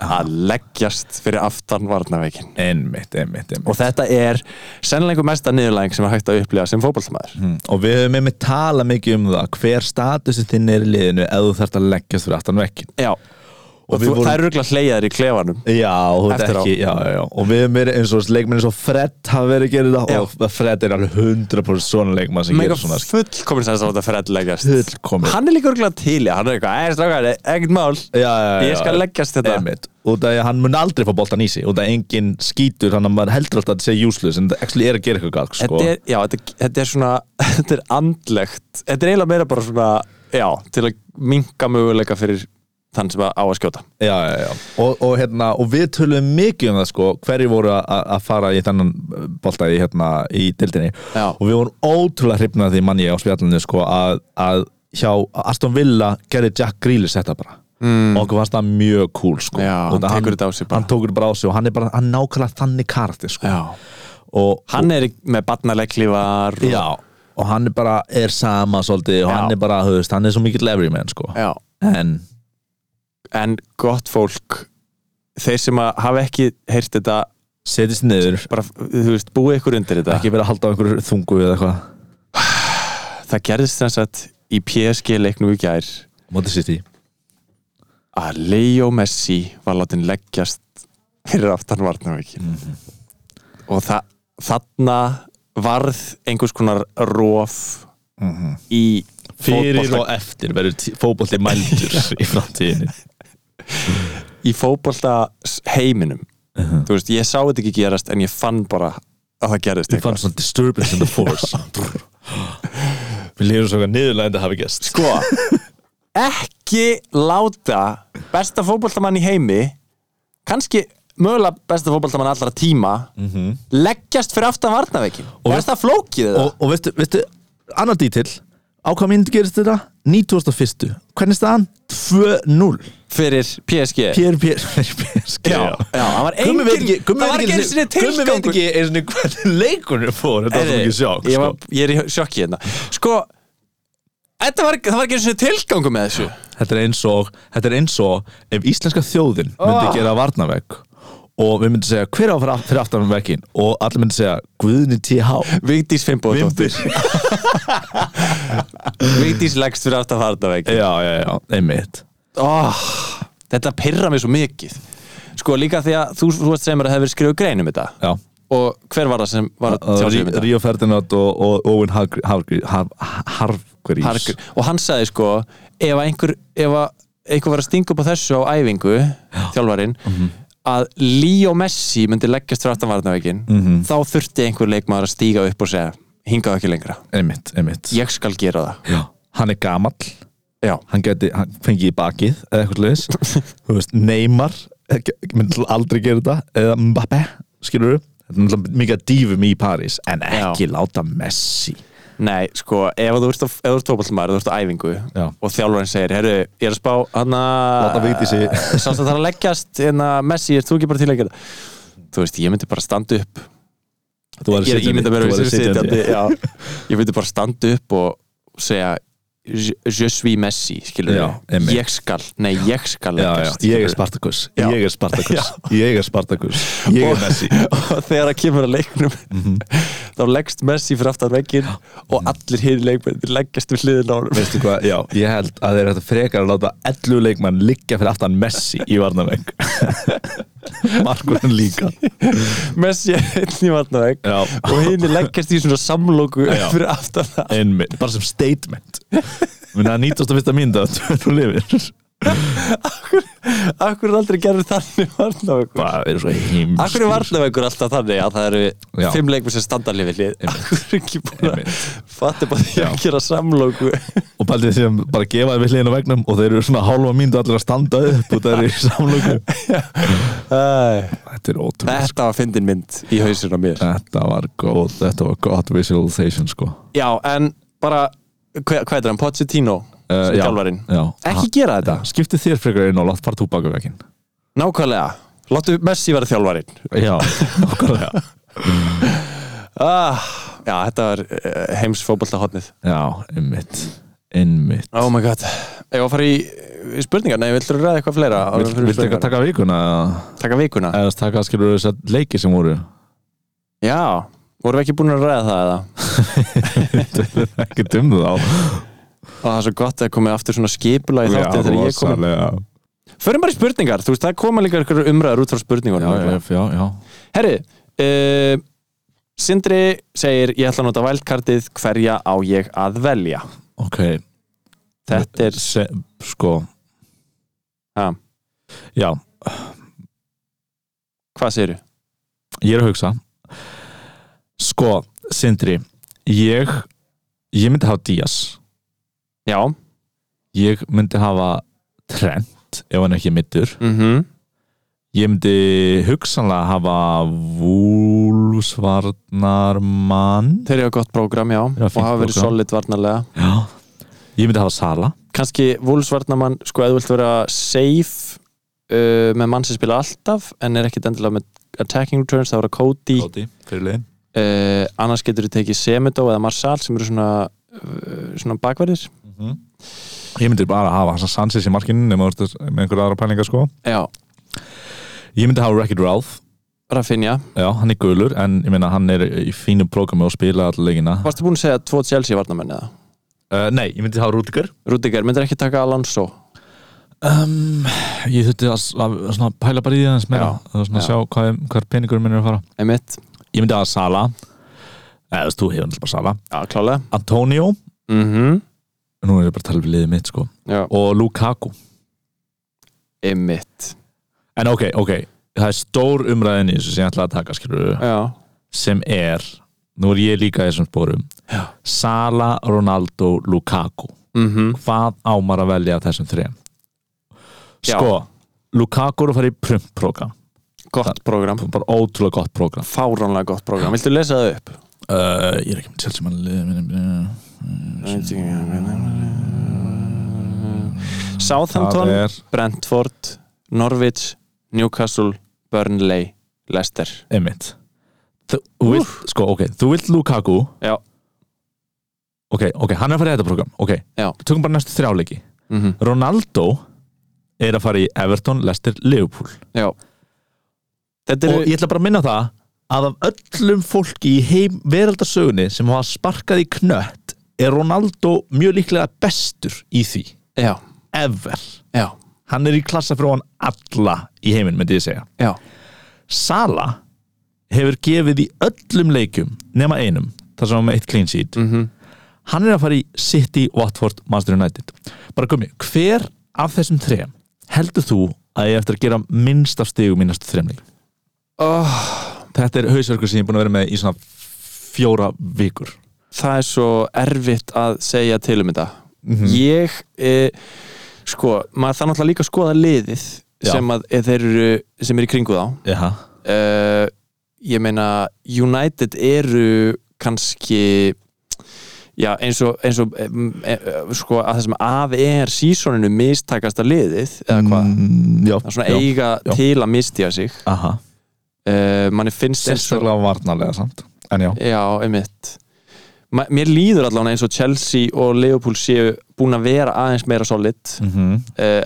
Ah. að leggjast fyrir aftan varnaveikin Einmitt, einmitt, einmitt og þetta er sennilega einhver mesta niðurlæging sem er hægt að upplifa sem fótballtamaður Mm, og við höfum einmitt talað mikið um það hver statusin þinn er í liðinu ef þú þarft að leggjast fyrir aftan vekkin Já, og, við þú, vorum- það eru röglega hleyjaðir í klefanum já, þú veit Eftir á. ekki, já, já, já og við höfum verið eins og leikmenn eins og Fred hafa verið að gera Já. þetta og Fred er alveg 100% svona leikmann sem Mega gerir svona fullkomin sæðis að láta Fred leggjast fullkomið Hann er líka örgulega til, já, hann er eitthvað "Æ, strákar, ekkert mál, já, já, já, ég skal já. leggjast þetta Einmitt, út af því að hann mun aldrei fá boltan í sig út af að enginn skítur þannig að maður heldur alltaf að þetta sé useless en það actually er að gera eitthvað galt sko. Þetta er, já, þetta, þetta er svona þetta er andlegt, þetta er eiginlega meira bara svona já, til að minka möguleika fyrir þann sem á að skjóta já, já, já. Og, og, hérna, og við töluðum mikið um það sko, hverju voru að- að fara í þennan bolta í, hérna, í dildinni Já. og við vorum ótrúlega hrifnað því mann ég á spjallinu sko, að, að hjá Aston Villa gerði Jack Grealish þetta bara mm. og okkur fannst það mjög cool sko. Já, Og hann það- tekur þetta á sig bara. hann tókur þetta bara á sig og hann er bara hann er nákvæmlega þannig karakter sko. Já. og, Hann er með barnaleglívar og- Já, og hann er bara er sama svolítið og Já. hann er bara, þú veist, hann er svo mikill everyman sko. Já. en En gott fólk þeir sem að hafa ekki heyrt þetta setjist niður, bara, þú veist, búið ykkur undir þetta ekki verið að halda á einhverju þungu eða eitthvað, Það gerðist þess að í PSG leiknum í gær mótið sitt í að Leo Messi var látin leggjast fyrir aftan varnarveikin Mhm. og það, þarna varð einhers konar róf í Mhm. fyrir fótbolta- og eftir verður fótbolti mældur í framtíðinni í fótbolta heiminum Mhm. þú veist, ég sá þetta ekki gerast en ég fann bara að það gerðist ég fann svona disturbance in the force við lifum svo eitthvað niðurlega en það hafi gæst sko, ekki láta besta fótboltamann í heimi kannski mögulega besta fótboltamann allra tíma leggjast fyrir aftan varnaveikin og er það flókið það? Mhm. og, og veistu, veistu, annar dítill á hvað myndi gerist þetta? 1901. Hvernig staðan? 2-0 fyrir PSG Pér, pér, PSG já, já, það var engin Gummi veit ekki Gummi það var veit ekki einu ekki, sinni Gummi veit tilgangur ekki einu sinni hvernig leikunum fór Þetta var svo Heyrðu, mikið sjokk ég, sko. var, ég er í sjokki hérna sko, þetta var, það var ekki einu sinni tilgangur með þessu Þetta er eins og Þetta er eins og Ef íslenska þjóðin myndi Ah. gera varnavegg Og við myndum segja Hver á að fara aft- fyrir aftan veggin Og allir myndum segja Guðni TH Vigdís Fimboðdóttir Vigdís leggst fyrir aftan varnaveikin Já, já, já Einmitt oh, Þetta pyrra mig svo mikið Sko líka því að þú, þú veist sem er að hefur verið skrifað grein um þetta Já Og hver var það sem var að tjá sig um þetta? Ríó Ferdinand og, og Owen Hargr- Hargr- Har- Hargreaves Harkur, og hann sagði sko ef að einhver, ef að einhver var að stinga upp á þessu á æfingu þjálfarinn, Mhm. að Leo Messi myndi leggjast fyrir aftanvarnaveikinn mm Mhm. -hmm. þá þurfti einhver leikmaður að stíga upp og segja, hingað ekki lengra Einmitt, einmitt ég skal gera það Já Hann er gamall Já. hann geti, hann fengi í bakið eða eitthvað leðis, þú veist, Neymar eh, ge- myndi aldrei gera þetta eða Mbappe, skilur við þetta er náttúrulega mikið að dýfum í París en ekki láta Messi Nei, sko, ef að þú ert, að- ef þú ert tópallmaður, þú ert á æfingu Já. og þjálfarinn segir, herru, ég er að spá hann Láta Vigdísi. að sást að það er að leggjast en að Messi, ert þú ekki bara til að gera það?" Þú veist, ég myndi bara standa upp þú væri Ég er ímynda mér þú að væri vera sitjandi já. Ég myndi bara standa upp og segja "Je- Je suis Messi, skilur Já, einmitt. Ég skal, nei, ég skal já, já, ég leggjast, skilurðu. er Spartakus Já. ég er Spartakus, ég er Spartakus ég Og- er Messi og þegar það kemur að leiknum þá leggst Messi fyrir aftan veginn og allir hinn leikmennir leggjast Mhm. við hliðin á honum Veistu hvað, já, ég held að þeir ættu frekar að láta 11 leikmann liggja fyrir aftan Messi í varnaveng Markurinn líka Messi er einn í varnaveg Já. og hinn leggjast í svona samlóku Já. fyrir aftan það Einmitt, bara sem statement Minna að nýtast að fyrsta mynda að þú lifir Akkur er aldrei gerður þannig varnaveg Bara verið svo heims Akkur er varnavegur alltaf þannig að það eru Já. fimm leikmenn sem standa alveg við lið Akkur er ekki búin að Einmitt. fatta bara því að Já. gera samlóku Og bældið sem bara gefa þið við hliðin á vegnum Og þeir eru svona hálfa myndu allir að standa upp Og þeir eru í samlöku Æ, Þetta er ótrúlega sko. Þetta var fyndin mynd í hausinu á mér Þetta var góð, þetta var gott visualization sko Já, en bara, hvað, hvað er hann? Pochettino, Eh, já, sem kjálvarinn já. Ekki gera þetta, Skipti þér frekar inn og látt fara túbaka veginn nákvæmlega Láttu Messi vera þjálfarinn Já, okkarlega ah, Já, þetta var uh, heimsfótbolta hotnið Já, einmitt Einmitt Oh my god Ég var að fara í eh, spurningar, nei, viltu ræða eitthvað fleira? áður en Vilt- fyrir Viltu eitthvað spurningarnar? taka vikuna taka vikuna? eða taka skilur þess að leiki sem voru Já, vorum við ekki búin að ræða það eða? ekki dum þá Og það er svo gott að komið aftur svona skipula í þáttin þegar ég komið rosalega. Förum bara í spurningar, þú veist, það koma líka einhverjum umræður út frá Já, spurningunum hérna. já, já, já. Herri, uh, Sindri segir ég ætla að nota vældkartið hverja á ég að velja Ok, Þetta er Se, sko ha, Já, Hvað segirðu? ég er að hugsa Sko, Sindri Ég Ég myndi hafa Díaz Já, Ég myndi hafa Trent ef hann er ekki mittur mm ég myndi hugsanlega hafa vúlsvarnarmann Þeir eru gott prógram, já Já, og fínt hafa verið prógram. solid varnarlega já ég myndi hafa Sala kannski vúlsvarnamann, sko, eða þú vilt vera safe uh, með mann sem spila alltaf en er ekkit endilega með attacking returns, það vera Cody Cody fyrir leiðin uh, annars getur þú tekið Semedo eða Marsal sem eru svona, uh, svona bakverðir ég myndi bara hafa hans að Sanchez í markinu nema þú ert með einhverja aðra pælinga sko Já, ég myndi hafa Wreck-It Ralph Rafinha já hann er gulur en ég meina hann er í fínu prógrami og spila allir leikina Varstu búin að segja tvo Chelsea varnamenn eða? uh, nei ég myndi hafa Rudiger Rudiger, myndir ekki taka Alonso um, ég þurfti að, að, að svona, pæla bara í því aðeins meira Já. og svona Já. sjá hvað, hvað peningur minn er að fara Emitt, ég myndi hafa Sala eða þú veist, þú hefur náttúrulega bara Sala já klálega Antonio mm nú er ég bara að tala um liðið mitt sko Já, og Lukaku Emitt en ok, ok, það er stór umræðin í þessu sem ég ætla að taka skilur Já, sem er, nú er ég líka í þessum spórum Já. Sala, Ronaldo, Lukaku mm hvað ámar að velja af þessum þrejum Já. sko, Lukaku er að fara í prumpprogram gott prógram bara ótrúlega gott program Fáránlega gott prógram, viltu lesa það upp? uh, ég er ekki með tjálsum að liða Southampton, er Brentford Norwich, Newcastle Burnley, Leicester einmitt þú þú vilt, sko, ok, þú vilt Lukaku Já. ok, ok, hann er að fara í þetta program ok, Já. tökum bara næstu þrjáleiki mm Ronaldo er að fara í Everton, Leicester, Liverpool Já Þetta og eru ég ætla bara að minna á það að af öllum fólki í heim veraldarsögunni sem hafa sparkað í knött er Ronaldo mjög líklega bestur í því, Já, ever já, hann er í klassa frá hann alla í heiminn, myndi ég segja já Sala hefur gefið í öllum leikjum nema einum, þar sem hann var með eitt clean sheet mm hann er að fara í City, Watford, Manchester United bara komi, hver af þessum þrejum heldur þú að ég eftir að gera minnst af stigum í næstu þrejum leik Oh, þetta er hausverkur sem ég er búin að vera með í svona fjóra vikur Það er svo erfitt að segja til um þetta Mhm. Ég e, sko, maður það náttúrulega líka að skoða liðið Já. sem, að, e, þeir eru, sem er í kringu þá Jaha. uh, ég meina United eru kannski já, eins og, eins og e, e, sko, að það sem af er sísoninu mistakasta liðið eða hvað, Mm, já, það er svona já. eiga já. til að mistja sig Aha. uh, manni finnst eins og sérstaklega varnarlega samt en já, já, einmitt Ma, mér líður allavega eins og Chelsea og Leopold séu búin að vera aðeins meira solid mm uh,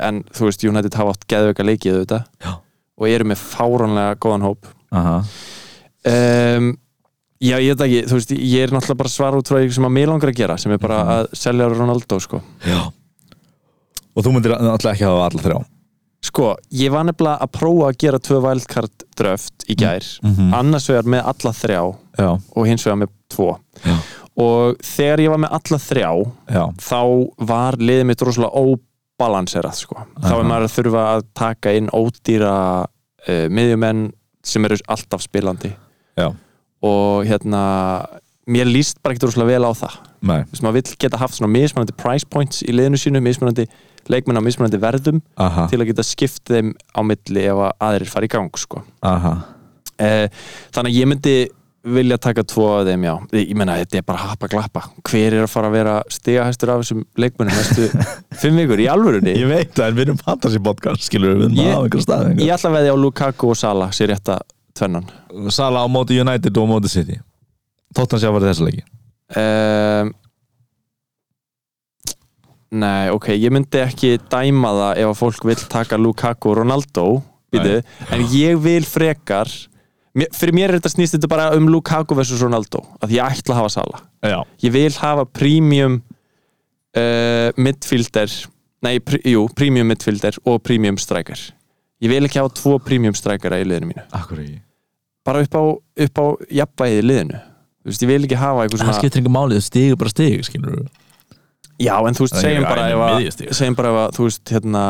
en þú veist, United hafa átt geðveika leikið auðvitað Já. og eru með fáránlega góðan hóp Aha. um, Já, ég veit ekki, þú veist, ég er náttúrulega bara að svara út frá því sem að mér langar að gera, sem er bara Mhm. að selja Ronaldo, sko. já og þú myndir alltaf ekki hafa alla þrjá Sko, ég var nefnilega að prófa að gera tvö wildcard dröft í gær, -hmm. annars vegar með alla þrjá já, og hins vegar með tvo. Já. Og þegar ég var með alla þrjá, já, þá var liðið mitt rosalega óbalanserað, sko. Þá er Aha. maður að þurfa að taka inn ódýra uh, miðjumenn sem eru alltaf spilandi. já, Og hérna, mér líst bara ekkert rosalega vel á það. nei, Þú veist, maður vill geta haft svona mismunandi price points í liðinu sínu, mismunandi leikmenn á mismunandi verðum aha, til að geta skipt þeim á milli ef að aðrir fara í gang sko. aha eh, þannig að ég myndi vilja taka tvo af þeim já ég ég meina þetta er bara hapa glappa hver er að fara að vera stigahæstur af þessum leikmennum næstu fimm vikur í alvörunni ég veit það, en við erum fantasy podcast skilur við, við Ég- maður hafa einhver stað ég ætla að veðja á Lukaku og Sala sér rétt að tvennan Sala á móti United og á móti City Tóttan sé að vera þessa leiki eh, Nei, ok, ég myndi ekki dæma það ef að fólk vil taka Lukaku og Ronaldo býtu, en ég vil frekar mér, fyrir mér er þetta snýst þetta bara um Lukaku versus Ronaldo að ég ætla að hafa Sala Já, ég vil hafa premium uh, midfielder nei, pr jú, premium midfielder og premium striker ég vil ekki hafa tvo premium strikera í liðinu mínu akkur ekki bara upp á, upp á jafnvægið í liðinu þú veist, ég vil ekki hafa eitthvað Það svona skiptir einhver málið, stigur bara stig skilur við já, en þú veist, Það er segjum ekki bara að ef einu að miðjustig. segjum bara ef að, þú veist, hérna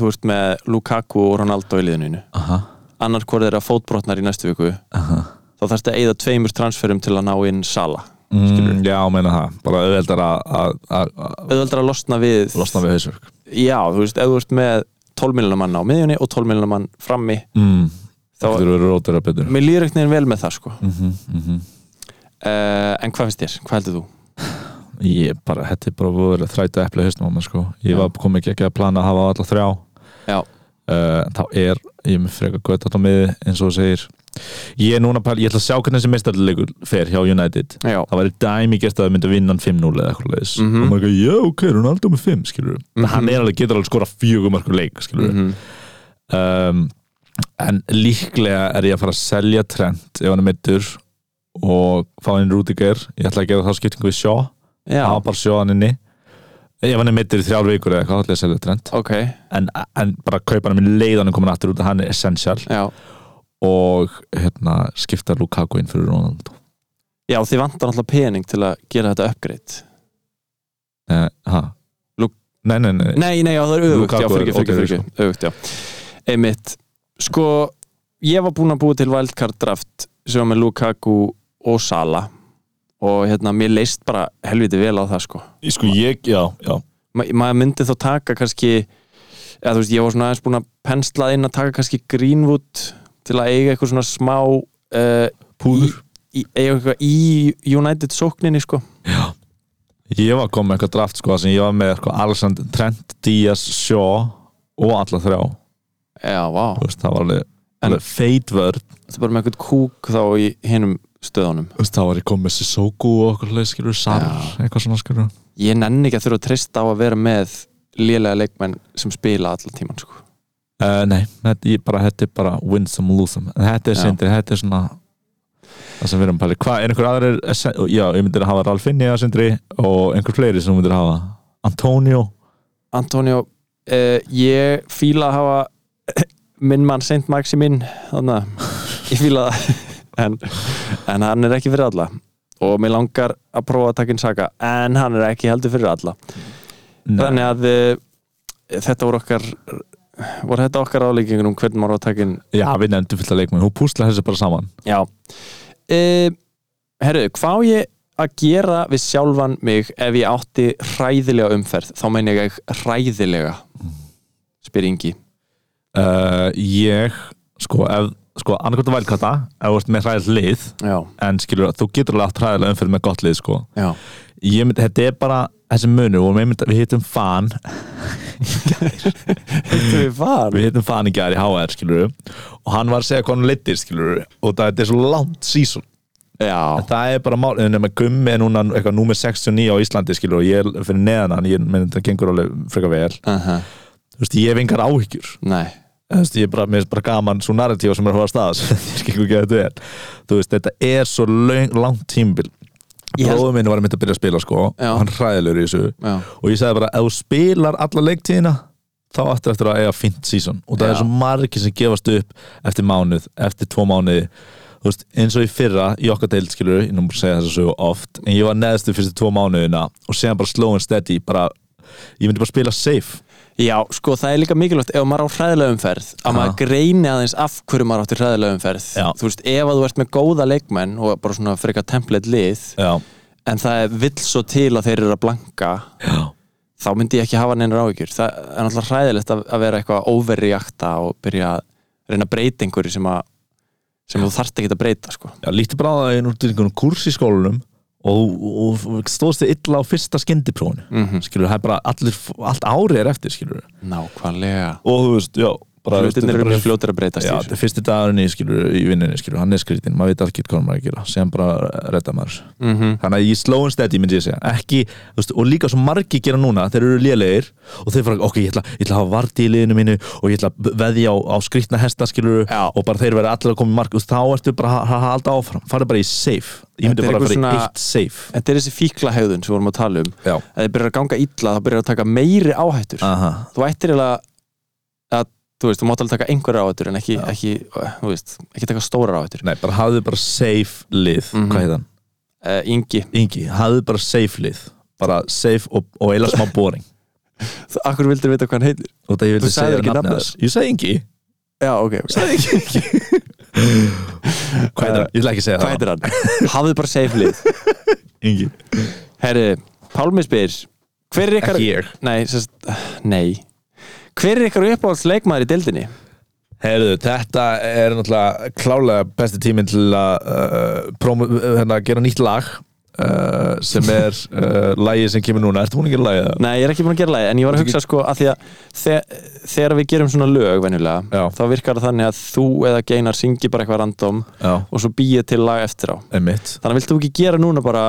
þú veist, með Lukaku og Ronaldo í liðinu mínu Aha, annar hvort þeirra fótbrotnar í næstu viku aha þá þarfst að eigða tveimur transferum til að ná inn Sala mm, Já, meina það, bara auðveldar að- að að- að auðvöldar að losna við losna við hausverk já, þú veist, ef þú ert með 12 miljonar mann á miðjunni og 12 miljonar mann frammi mm. þá, Það eru verið rótara betur mér líður ekkert neginn vel með það sko mm -hmm, mm -hmm. uh, en hvað finnst þér, hvað heldur þú? Ég bara, þetta er bara voru þræta epli haustum á mér sko Ég Já. var komið ekki ekki að plana að hafa alla þrjá Já. uh, Þá er, ég er með frekar gött átt á miði eins og þú segir Ég er núna, pæl, ég ætla að sjá hvernig þessi mestarleikur fer hjá United já, Það væri dæmi gert að það myndi vinna hann 5-0 eða eitthvað leiðis Mhm. Og maður ekki, já ok, hún er aldrei með 5, skilur Mhm. Hann er alveg, getur alveg skora fjögum markur leik, skilur mm um, en líklega er ég að fara að selja Trent ef hann er mittur og fá inn Rudiger ég ætla að gera þá skiptingu við Shaw já hafa bara Shaw hann inni ef hann er mittur í þrjár vikur eða eitthvað þá ætla ég að selja Trent ok, en, en bara kaupa hann með leiðanum komin aftur út að hann er essential já og hérna, skipta Lukaku inn fyrir Ronaldo já, þið vantar alltaf pening til að gera þetta uppgreitt eh, ha? Lu- nei, nei, nei, nei, nei, já, það er öfugt, Lukaku já, er fyrir ekki, fyrir ekki, fyrir ekki öfugt, já, einmitt sko, ég var búinn að búa til wildcard draft sem var með Lukaku og Sala og hérna, mér leist bara helviti vel á það sko sko ég, já, já ma maður myndi þá taka kannski eða þú veist, ég var svona aðeins búin að penslað inn að taka kannski Greenwood til að eiga eitthvað svona smá uh, púður í, eiga eitthvað í United sókninni sko Ég var komið með eitthvað draft sko þar sem ég var með sko, Alexander Trent, Díaz, Shaw og alla þrjá já, vá, Þú veist, það var alveg, En- alveg feitvörn þetta er bara með eitthvað kúk þá í hinum stöðunum Þú veist, það var ég komið með Sissoko og okkur leið skilur Sar, Já. eitthvað svona skilur ég nenni ekki að þurfa að treysta á að vera með lélega leikmenn sem spila allan tíman sko. uh, Nei, þetta, ég bara, þetta er bara win some, lose some En Þetta er Já. sindri, þetta er svona það sem við erum að pæli Hvað, er einhver aðrir, eh, já, ég myndir að hafa Ralfinni eða sindri og einhver fleiri sem þú myndir að hafa Antonio Antonio, uh, ég fíla að hafa minn mann Saint Maximin þannig að ég fíla það en, en hann er ekki fyrir alla og mér langar að prófa að taka inn Saka en hann er ekki heldur fyrir alla þannig að uh, þetta voru okkar voru þetta okkar álíkingur um hvernig maður á að taka inn Já, við nefndum fullt að leikmenn, hún púsla þessu bara saman já uh, herru, hvað á ég að gera við sjálfan mig ef ég átti hræðilega umferð þá meina ég hræðilega spyr Ingi uh, ég sko, ef, sko annarkvæmt að vælkata ef þú ert með hræðilega lið já, en skilur þú getur alveg átt hræðilega umfyrir með gott lið sko. já ég myndi, þetta er bara þessi munu og mynd, við hittum fan Þetta er fan við hittum fan í gær í HR skilur og hann var að segja hvað hann leittir skilur og það þetta er svo langt season Já, en það er bara mál, en nema gummi er núna eitthvað númer 69 á Íslandi skilur og ég er fyrir neðan hann, ég myndi það gengur alveg frekar vel, uh -huh. þú veist, ég hef engar áhyggjur nei þú veist, ég er bara, mér er bara gaman svo narratífa sem er að fara að staða sem þér gengur ekki að þetta er þú veist, þetta er svo löng, langt tímbil Ég held- bróðum minn var að mynda að byrja að spila sko Já. og hann hræðilegur í þessu Já, og ég sagði bara, ef þú spilar alla leiktíðina þá aftur eftir að eiga fint sísón og það Já. er svo margir sem gefast upp eftir mánuð, eftir tvo mánuði þú veist, eins og í fyrra, í okkar deild skilur, ég nú múið að segja þess að sögu oft en ég var neðstu fyrstu tvo mánuðina og segja bara slow and steady, bara ég myndi bara spila safe Já, sko það er líka mikilvægt ef maður á hræðilega umferð að Já. maður greini aðeins af hverju maður átti hræðilega umferð Já. Þú veist, ef að þú ert með góða leikmenn og bara svona frekar template lið já, en það er vill svo til að þeir eru að blanka já þá myndi ég ekki hafa neina ráðugjur það er náttúrulega hræðilegt að, að vera eitthvað overreakta og byrja að reyna að breyta einhverju sem, að, sem þú þarft ekki að breyta sko. Já, lítið bara á það einu út í einhvern kurs í skólanum og, og, og stóðst þið illa á fyrsta skyndiprófinu mm skilur, það er bara allir, allt árið er eftir skilur, Nákvæmlega og þú veist, já bara, þú veist, Hlutinir þetta er eru bara- fljótur að breyta Já, þetta er fyrsti dagurinn í, skilur, í vinninni skilur, hann er skrítinn, maður veit ekki hvað maður er að gera sem bara redda maður þessu. mm þannig að í slow and steady myndi ég segja ekki, þú veist, og líka svo margi gera núna þeir eru lélegir og þeir fara ok, ég ætla, ég ætla að hafa vart í liðinu mínu og ég ætla að veðja á, á skrýtna hesta skilur Já. og bara þeir verða allir að koma í mark þú veist, þá ertu bara að- að halda áfram, farið bara í safe ég Þetta myndi bara að er eitthvað fara í svona- eitt safe Þetta er þessi fíkla hegðun sem við vorum að tala um já, að þið byrjar að ganga illa, þá byrjar að taka meiri áhættur aha, Þú ættir eiginlega að, þú veist, þú mátt alveg taka einhverja áhættur en ekki, Já. ekki, þú veist, ekki taka stórar áhættur nei, bara hafðu bara safe lið, Mhm. hvað heit hann? uh, Ingi, Ingi, hafðu bara safe lið bara safe og, og eila smá boring þú- akkur vildir vita hvað hann heitir? og það ég vildi Þú sagðir segja ekki nafnið nafnið þess ég sagði Ingi, Já, ok, ok sagði Ingi, Ingi. hvað heitir hann? ég ætla ekki að segja Hvað það heitir hann? Hafðu bara safe lið Ingi Herri, Pálmi spyr Hver er ykkar ekki ég Nei, sérst, nei Hver er ykkar uppáhalds leikmaður í deildinni? Heyrðu, þetta er náttúrulega klálega besti tíminn til að uh, promo, hérna, gera nýtt lag uh, sem er uh, lagið sem kemur núna, ertu múin að gera lagið? það? Nei, ég er ekki búin að gera lagi En ég var að hugsa sko að því að þe- Þegar við gerum svona lög venjulega Já. Þá virkar það þannig að þú eða Geinar syngi bara eitthvað random Já, Og svo býja til lag eftir á einmitt Þannig að viltu ekki gera núna bara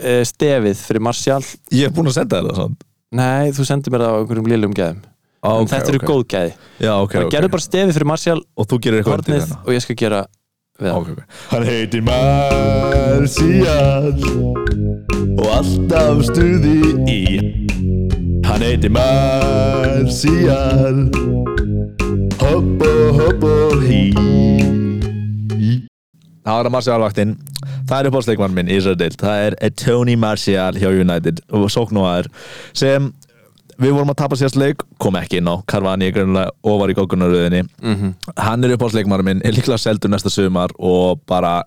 e, Stefið fyrir Martial Ég er búin að senda þér það svona Nei, þú sendir mér það á einhverjum lillum gæðum okay, Þetta eru góð gæði Já, ok, okay. ok Gerðu bara stefið fyrir Martial Og þú gerir eitthvað undir Hornið hérna og ég skal gera við það Ok, ok. Hann heitir Marcial og alltaf stuði í Hann heitir Marcial hopp og hopp og hí Það var að Marcial vaktinn Það er uppáhaldsleikmann minn í þessari deild Það er Tony Marcial hjá United og sóknúaður sem við vorum að tapa sérst leik kom ekki inn á Carvani grunlega ofar í gókunaröðinni Mhm. hann er uppáhaldsleikmaður minn, er líklega seldur næsta sumar og bara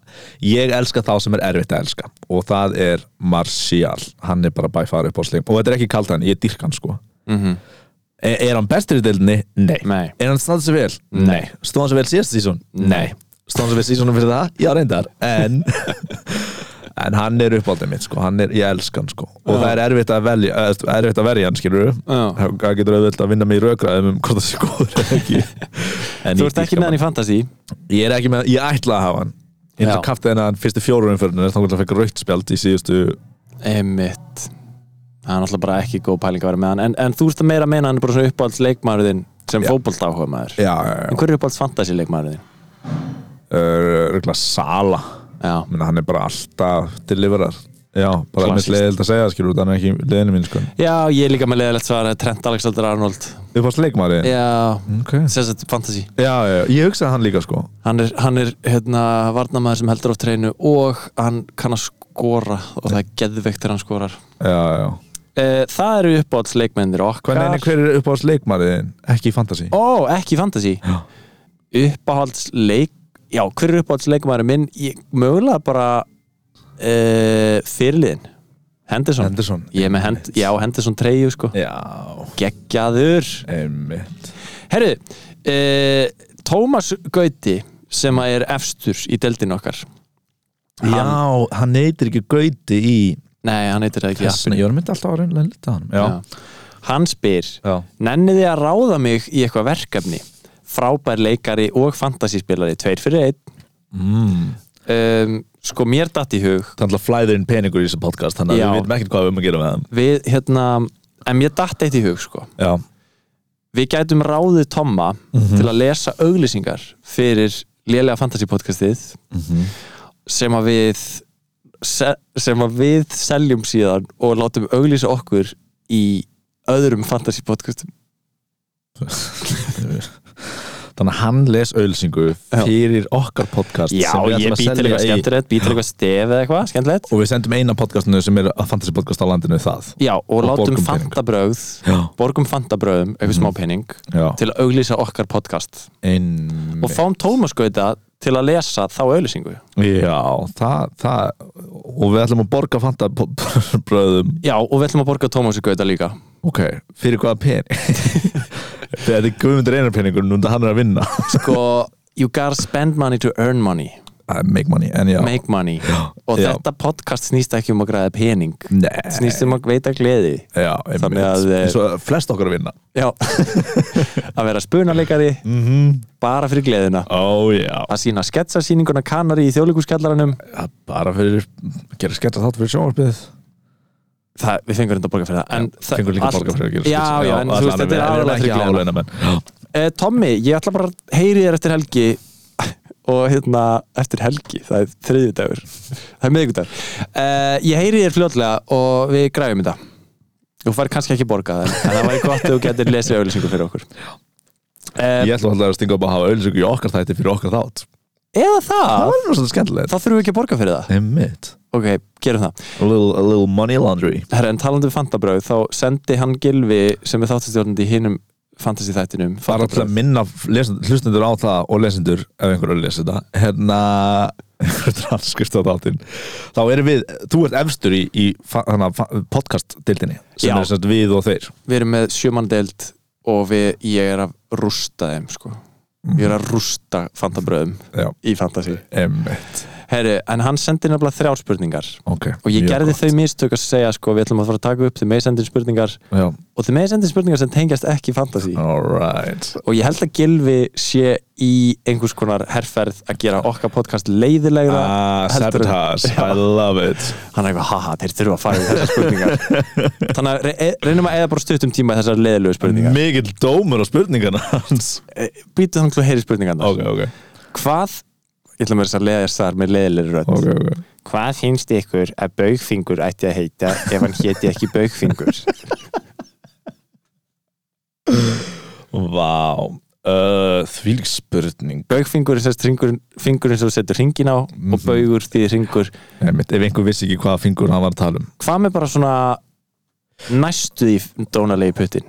ég elska þá sem er erfitt að elska og það er Martial, hann er bara bæfara uppáhaldsleikmaður og þetta er ekki kalt hann, ég dyrk hann sko Mhm. er, er hann bestur í deildinni? Nei, Nei. Er hann snart sér vel? Nei Stóð hann sér vel síðast sísón? Nei. Stóð hann sér vel sísónum fyrir það? Já, reyndar En En hann er uppáldið mitt sko, hann er, ég elska hann sko Og það er erfitt að velja, eða, þú veist, erfitt að verja hann skilur Já. Það getur auðvitað að vinna mig í rökraðum um hvort það sé góður eða ekki En Þú ég ert ekki dýrka með hann í fantasy Ég er ekki með, ég ætla að hafa hann Ég ætla Já. að kafta henni að hann fyrstu fjórum umförinu Þannig að hann fekk raukt spjald í síðustu Emmitt Það er náttúrulega bara ekki góð pæling að vera með hann En, en þú ert að meira að meina hann er bara svona uppáhalds leikmaður þinn sem Já. fótbolta áhuga maður Já, já, já En hver er uppáhalds fantasy leikmaður þinn? Röglega Sala Já, Menna, Hann er bara alltaf deliverar Já, bara Klassískt. með leiðild að segja skilur Þannig ekki í leiðinu mín sko Já ég er líka með leðilegt svar Trent Alexander Arnold Upp á sleikmari Já, okay. sem sagt fantasy Já, já, já, ég hugsaði hann líka sko Hann er, hann er hérna varnamaður sem heldur á treinu og hann kann að skora og það er geðveikt þegar hann skorar Já, já Eh, Það eru uppáhalds leikmennir okkar Hvernig hver er upp á sleikmariðin? Ekki í fantasy Ó, ekki í fantasy Já. Uppáhalds leik Já, hver er uppáhalds leikmaður minn? Ég, mögulega bara uh, fyrirliðin Henderson. Henderson Ég er með hend, já, Henderson treyju sko Já, Geggjaður einmitt Herru, uh, Tómas Gauti sem að er efstur í deldin okkar Hann- Já, hann neytir ekki gauti í Nei, hann heitir það ekki í Þessna, appinu. ég var myndi alltaf að reynlega lita hann Já, Hann spyr já, Nenniði að ráða mig í eitthvað verkefni Frábær leikari og fantasyspilari Tveir fyrir einn Mm. um, Sko mér datt í hug Það er alltaf flæður inn peningur í þessu podcast Þannig að Já. við veitum ekkert hvað við erum að gera með hann Við hérna En mér datt eitt í hug sko Já, Við gætum ráðið Tomma Mhm. Til að lesa auglýsingar Fyrir lélega fantasy podcastið Mhm. Sem að við se- Sem að við seljum síðan Og látum auglýsa okkur Í öðrum fantasy podcastum þannig að hann les ölsingu fyrir okkar podcast Já, sem við ætlum að ég být selja til eitthvað í- skemmtilegt Být til eitthvað stef eða eitthvað skemmtilegt Og við sendum eina podcastinu sem er að fantasy podcast á landinu það Já, og, Mhm. látum borgum pening. fantabröð Já, Borgum fantabröðum, eitthvað smá pening já Til að auglýsa okkar podcast Einmitt. og fáum Tómas Gauta til að lesa þá auðlýsingu Já, það, það Og við ætlum að borga fanta po- bröðum Já, og við ætlum að borga Tómasi Gauta líka Ok, fyrir hvaða pening Þegar þetta er guðmundur einar peningur Núnda hann er að vinna Sko, you gotta spend money to earn money I Uh, Make money, en já Make money Og Já. þetta podcast snýst ekki um að græða pening Nei, Snýst um að veita gleði já, Þannig einmitt að, eh, Svo flest okkar að vinna Já Mm. Að vera spunaleikari Bara fyrir gleðina Ó, já Að sína sketsasýninguna kanari í þjóðleikuskjallaranum Já, bara fyrir að gera skemmt að þátt fyrir sjónvarpið Það, við fengum reynda að borga fyrir það en það- fengur líka allt- borga fyrir að gera skemmt Já, já, en þú veist, þetta er aðalega fyrir gleðina glæðina menn Eh, Tommy, ég ætla bara að heyri þér eftir helgi og hérna eftir helgi, það er þriðjudagur það er miðvikudagur eh, ég heyri þér fljótlega og við græfum þetta þú fær kannski ekki borgað en, en það væri gott að þú getur lesið auðlýsingu fyrir okkur eh, Ég ætla alltaf að stinga upp að hafa ölsöku í okkar þætti fyrir okkar þátt eða það, Það var nú svolítið skemmtilegt þá þurfum við ekki að borga fyrir það Einmitt ok, gerum það A little, a little money laundry Herra, en talandi um fantabröð, þá sendi hann Gilvi sem er þáttastjórnandi í hinum fantasy þættinum bara til að minna lesend- hlustendur á það og lesendur ef einhverju lesi þetta hérna, einhver transkrift á þáttinn þá erum við, þú ert efstur í, í fa- þarna fa- podcast-dildinni sem Já. er sem sagt við og þeir við erum með sjömanndeild og við, ég er að rústa þeim sko. ég Mhm. er að rústa fantabröðum Já, í fantasi emmitt Herri, en hann sendi nefnilega þrjár spurningar okay. og ég mjög gerði gott. þau mistök að segja sko, við ætlum að fara að taka upp þið með sendin spurningar Já, og þið með sendin spurningar sem tengjast ekki fantasi alright og ég held að Gilvi sé í einhvers konar herrferð að gera okkar podcast leiðilegra Ah, heldur en- sabotage, Já. I love it hann er eitthvað, haha, þeir þurfa að fara í þessar spurningar þannig að re e- reynum að eða bara stuttum tíma í þessar leiðilegu spurningar E, Mikill dómur á spurningarna hans býtu þannig að heyri spurningarnar Ok, ok, hvað, ég ætla mér þess að leiðast þar með leiðilegri rödd ok, ok hvað finnst ykkur að baugfingur ætti að heita ef hann héti ekki baugfingur Vá, uh, þvílík spurning baugfingur er sérst ringur, fingurinn sem þú setur ringin á Mhm. og baugur því ringur Einmitt, Ef einhver vissi ekki hvaða fingur hann var að tala um hvað með bara svona næstu því dónalegi puttin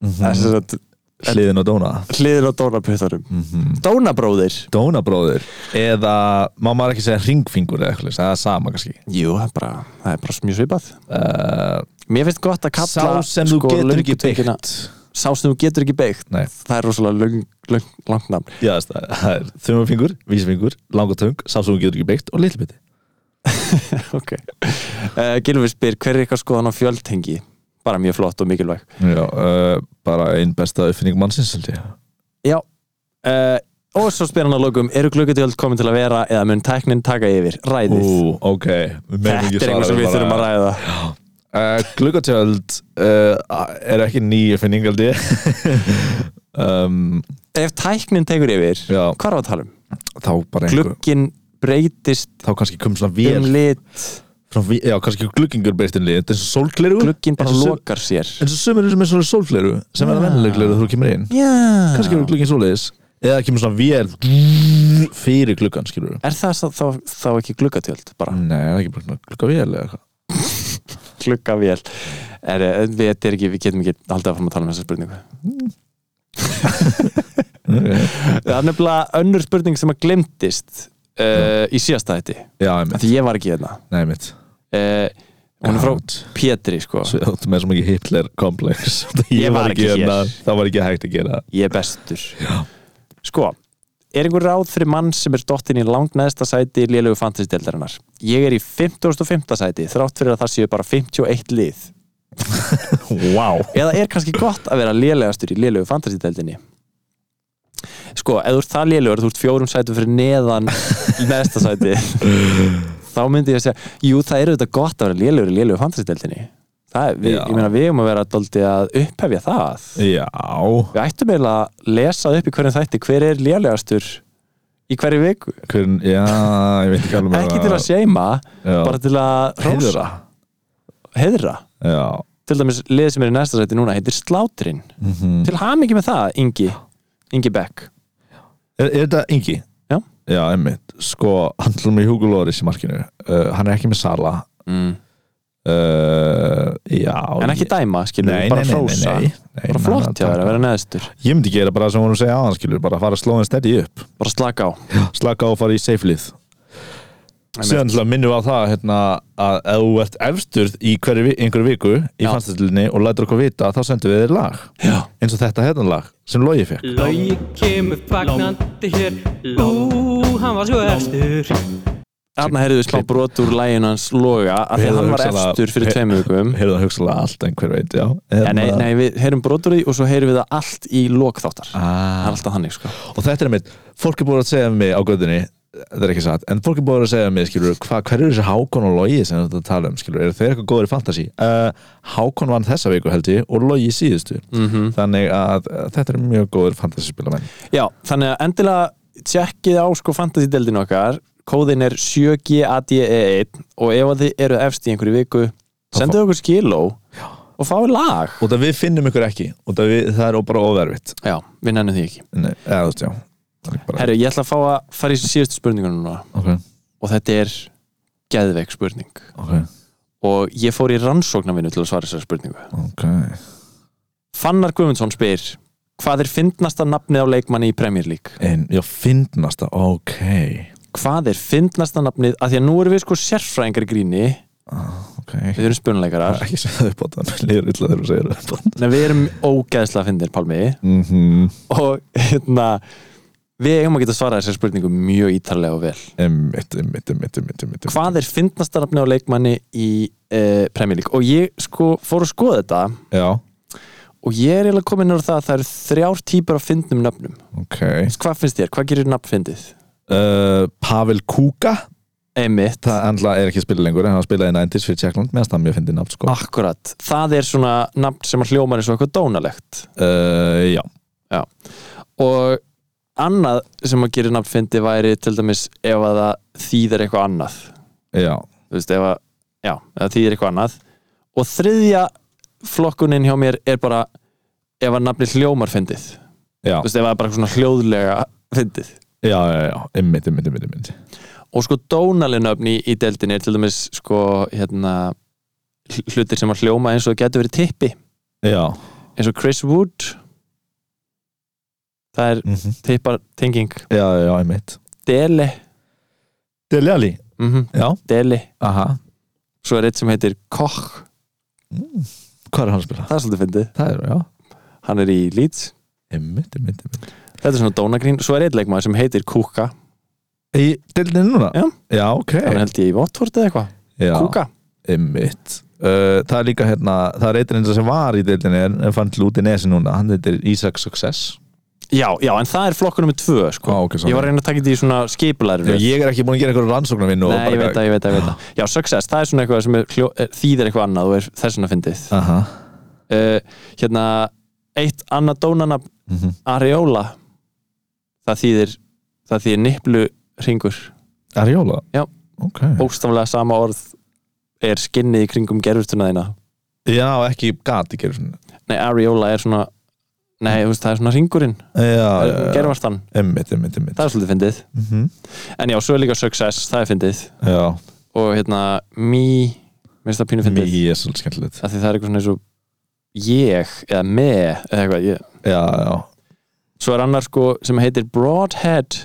mm það er sem sagt Hliðin og Dóna hliðin á dónaputtunum mm -hmm. dónabróðir Dónabróður eða má maður ekki segja ringfingur eða eitthvað, það er sama kannski jú, það er bara, það er bara mjög svipað uh, mér finnst gott að kalla Sá sem þú getur ekki löngutungina- byggt sá sem þú getur ekki beigt Nei. það er rosalega löng, löng, langt nafn Já, það er- það er þumafingur, vísfingur, langatöng Sá sem þú getur ekki byggt og litlbiti Ok uh, Gilvi spyr, hver er eitthvað skoðan á fjöldhengi? Bara mjög flott og mikilvæg Já, uh, bara einn besta uppfinning mannsins held ég Já uh, Og svo spyr hann að lokum, eru gluggatjöld komin til að vera eða mun tæknin taka yfir? Ræðið Ú, ok við megum Þetta er ekki eitthvað svara sem við bara- þurfum að ræða Uh, gluggatjöld uh, er ekki nýja finning held ég um, Ef tæknin tekur yfir, Já, hvað er að tala um? þá bara einhver Glugginn breytist Þá kannski kom svona vél um lit frá, vé- Já, kannski gluggingur breyst um lið Þetta er eins og sólgleru Glugginn bara Eins og- lokar sér eins og sömur er sem er svona sólgleru sem er Já. að vennileg gleru þú kemur inn Já kannski eru glugginn svoleiðis eða það kemur svona vél fyrir gluggan skilur Er það þá, þá, þá ekki gluggatjöld bara? Nei, það er ekki bara svona gluggavél eða eitthvað Gluggavél er, við, þetta er ekki, við getum ekki haldið að fara að tala um þessa spurningu Ok. Það er nefnilega önnur spurning sem að glemtist uh, í síðasta þetta Já, einmitt, Því ég var ekki hérna nei, einmitt uh, Hún er frá Gott. Pétri sko Svo Þú áttu með svo mikið Hitler komplex Ég var ekki hér. hérna. Það var ekki hægt að gera það. Ég er bestur Já. Sko, er einhver ráð fyrir mann sem er dottinn í langt neðsta sæti lélegu fantasy-deildarinnar? Ég er í 50.5. sæti þrátt fyrir að það séu bara 51 lið Wow Eða er kannski gott að vera lélegastur í lélegu fantasy-deildinni? Sko, ef þú ert það lélegur, þú ert fjórum sætum fyrir neðan neðsta sæti þá myndi ég að segja, jú það er auðvitað gott að vera lélugur í lélugu fantasy-deltinni það, er, við, Já. ég meina við erum að vera doldið að upphefja það Já, við ættum eiginlega að lesa upp í hverjum þætti hver er lélugastur í hverju viku, Hvern, já, ég veit ekki alveg ekki til að seima Já. bara til að Heiðra. rosa, heiðra Já, til dæmis lið sem er í næsta sæti núna heitir Sláturinn, Mhm. til hamingi með það Ingi, Ingi Beck er, er þetta Ingi? Já. Já, emmitt, sko, hann til með Hugo Loris í markinu, uh, hann er ekki með Sala mm. uh, Já en ekki ég- dæma, skilur Nei, við, nei, bara nei, nei, frósa nei, nei bara nei, flott hjá nei, þér að nei. vera neðstur Ég myndi gera bara það sem hún segja aðan skilur bara fara að slóðan stedi upp bara slaka á slaka á og fara í safe lið Síðan til að minnum við á það hérna, að ef þú ert efstur í hverju, vi- einhverju viku í Já. fannstættilinni og lætur okkur vita þá sendum við þér lag Já. eins og þetta hérna lag sem Logi fekk Logi kemur fagnandi hér Ú, hann var sko svo efstur Þarna heyrðu við smá brot úr lægin hans Loga af því að Heyrðu, hann var hugsanlega- efstur fyrir he- tveim vikum Heyrðu það hugsalega allt en hver veit, já Hérna- ja, nei, nei, við heyrum brot úr því og svo heyrum við það allt í lokþáttar Það er Ah. alltaf þannig sko Og þetta er mitt, fólk er búin að segja við mig á göðunni þetta er ekki satt, en fólk er búin að segja við mig skilur, hva, hver eru þessi Hákon og Logi sem þetta tala um, skilur, eru þeir eitthvað góður í fantasy uh, Hákon vann þessa viku held ég og Logi síðustu, -hmm. þannig að uh, þetta er mjög góður fantasy spilamenn Já, þannig að endilega tjekkið á sko fantasy-deldin okkar kóðin er 7GADE1 E og ef að þið eru efst í einhverju viku sendið okkur skiló og fáið lag og það við finnum ykkur ekki og það, við, það er bara óverfitt Já, við nennum því ekki Nei, eða, þú veist, já Það er bara- Herru, ég ætla að fá að fara í síðustu spurningunum núna Ok, og þetta er geðveik spurning ok, og ég fór í rannsóknarvinnu til að svara þessari spurningu ok Fannar Guðmundsson spyr hvað er fyndnasta nafnið á leikmanni í Premier League? En, já, fyndnasta, ok hvað er fyndnasta nafnið að því að nú erum við sko sérfræðingar í gríni ok við erum spunuleikarar ekki segja það upp á það, mér líður illa þegar þú segir það upp á það en við erum ógeðslega fyndir Pálmi mhm, og hérna við eigum að geta svarað þessar spurningum mjög ítarlega og vel einmitt, einmitt, einmitt, einmitt, einmitt hvað er fyndnasta nafnið á leikmanni í eh, Premier League og ég sko fór að skoða þetta já, og ég er eiginlega komin á það að það eru þrjár típar af fyndnum nöfnum ok hvað finnst þér, hvað gerir nafn fyndið? uh, Pavel Kuka Einmitt, það andla er ekki að spila lengur en hann spilaði í 90s fyrir Tjekkland meðan það mjög fyndi nafn sko. akkurat það er svona nafn sem að hljóma eins og eitthvað dónalegt uh, já, og annað sem að gerir nafn fyndið væri til dæmis ef að það þýðir eitthvað annað já þú veist, ef að, já, ef það þýðir eitthvað annað og þriðja flokkunin hjá mér er bara ef að nafni hljómar fyndið þú Já, veist, ef að það er bara svona hljóðlega fyndið já, já, já, einmitt, einmitt, einmitt, einmitt. og sko dónalinöfni í deildinni er til dæmis sko hérna hl- hlutir sem að hljóma eins og það getur verið tippi Já, eins og Chris Wood það er mm tippar tenging já, já, einmitt Dele, Deli Ali, mm já, Dele aha svo er eitt sem heitir Koch mm. Hvað er hann að spila? það er svolítið fyndið, Það er, já, hann er í Leeds einmitt, einmitt, einmitt þetta er svona dónagrín, svo er eitt leikmaður sem heitir Kuka Í deildinu núna? Já. já ok hann held ég í Votvort eða eitthvað, já, Kuka Einmitt uh, Það er líka hérna, það er eitt reynda sem var í deildinu en, en fann til út í nesi núna, hann heitir Isaac Success já, já, en það er flokkur nummið tvö sko. Á, Ah, ok, svona. ég var að reyna að taka þetta í svona skipulæri Já, ég er ekki búin að gera einhverjum rannsóknarvinnu og Nei, bara- ég veit það, ég veit það, ég veit það Já, success, það er svona eitthvað sem er hljó, er, þýðir eitthvað annað og er þess vegna fyndið Aha, uh, Hérna, eitt annað dónanab mm Areola Það þýðir, það þýðir niplu ringur Arjóla? Já. Ok Bókstaflega sama orð er skinnið í kringum gerfustuna þína Já, ekki gati gerur svona Nei, areola er svona Nei, þú veist, það er svona ringurinn Já, já, já. Gerfastan, Einmitt, einmitt, einmitt það er svolítið fyndið Mhm. En já, svo er líka success, það er fyndið Já, Og hérna, me, minnst það pínu fyndið mikið er svolítið skemmtilegt Af því það er eitthvað svona eins og ég eða me eða eitthvað ég. Já, já svo er annar sko sem heitir broadhead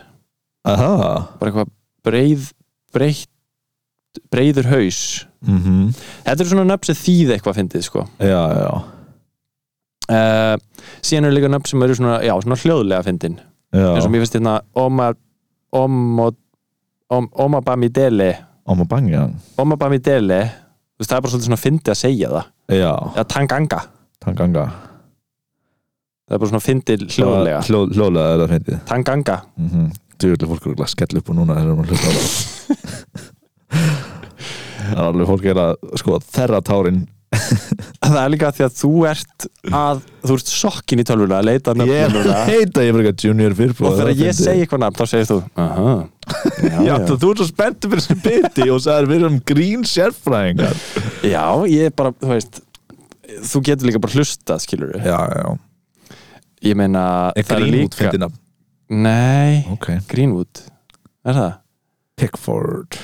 Aha bara eitthvað breið, breið, breiður haus mm Mhm. þetta er svona nöfn sem þýð eitthvað fyndið sko Já, já uh, síðan eru líka nöfn sem eru svona, já, svona hljóðlega fyndin eins og Já mér finnst hérna Omar Om- Om- Omabamidele Oma Bangjang Omabamidele þú veist það er bara svolítið svona fyndið að segja það Já eða tanganga Tanganga það er bara svona fyndið hljóðlega Hljó, Hljóðlega er það fyndið tanganga mm -hmm. Djúvilega fólk er örugglega að skella upp og núna þegar maður hlusta á það Það er alveg fólk er að sko þerra tárin það er líka því að þú ert að þú ert sokkin í tölvuna að leita að Ég nöfnum núna. heita ég fyrir eitthvað junior fyrirbúð og þegar ég segi eitthvað nafn þá segir þú aha, já, Já, já, þú, þú ert svo spenntur fyrir þessu biti og sagðir við erum grín sérfræðingar já, ég er bara, þú veist þú getur líka bara hlustað, skilur við Já, já ég meina, það er líka útfindina nei, Ok Greenwood er það? Pickford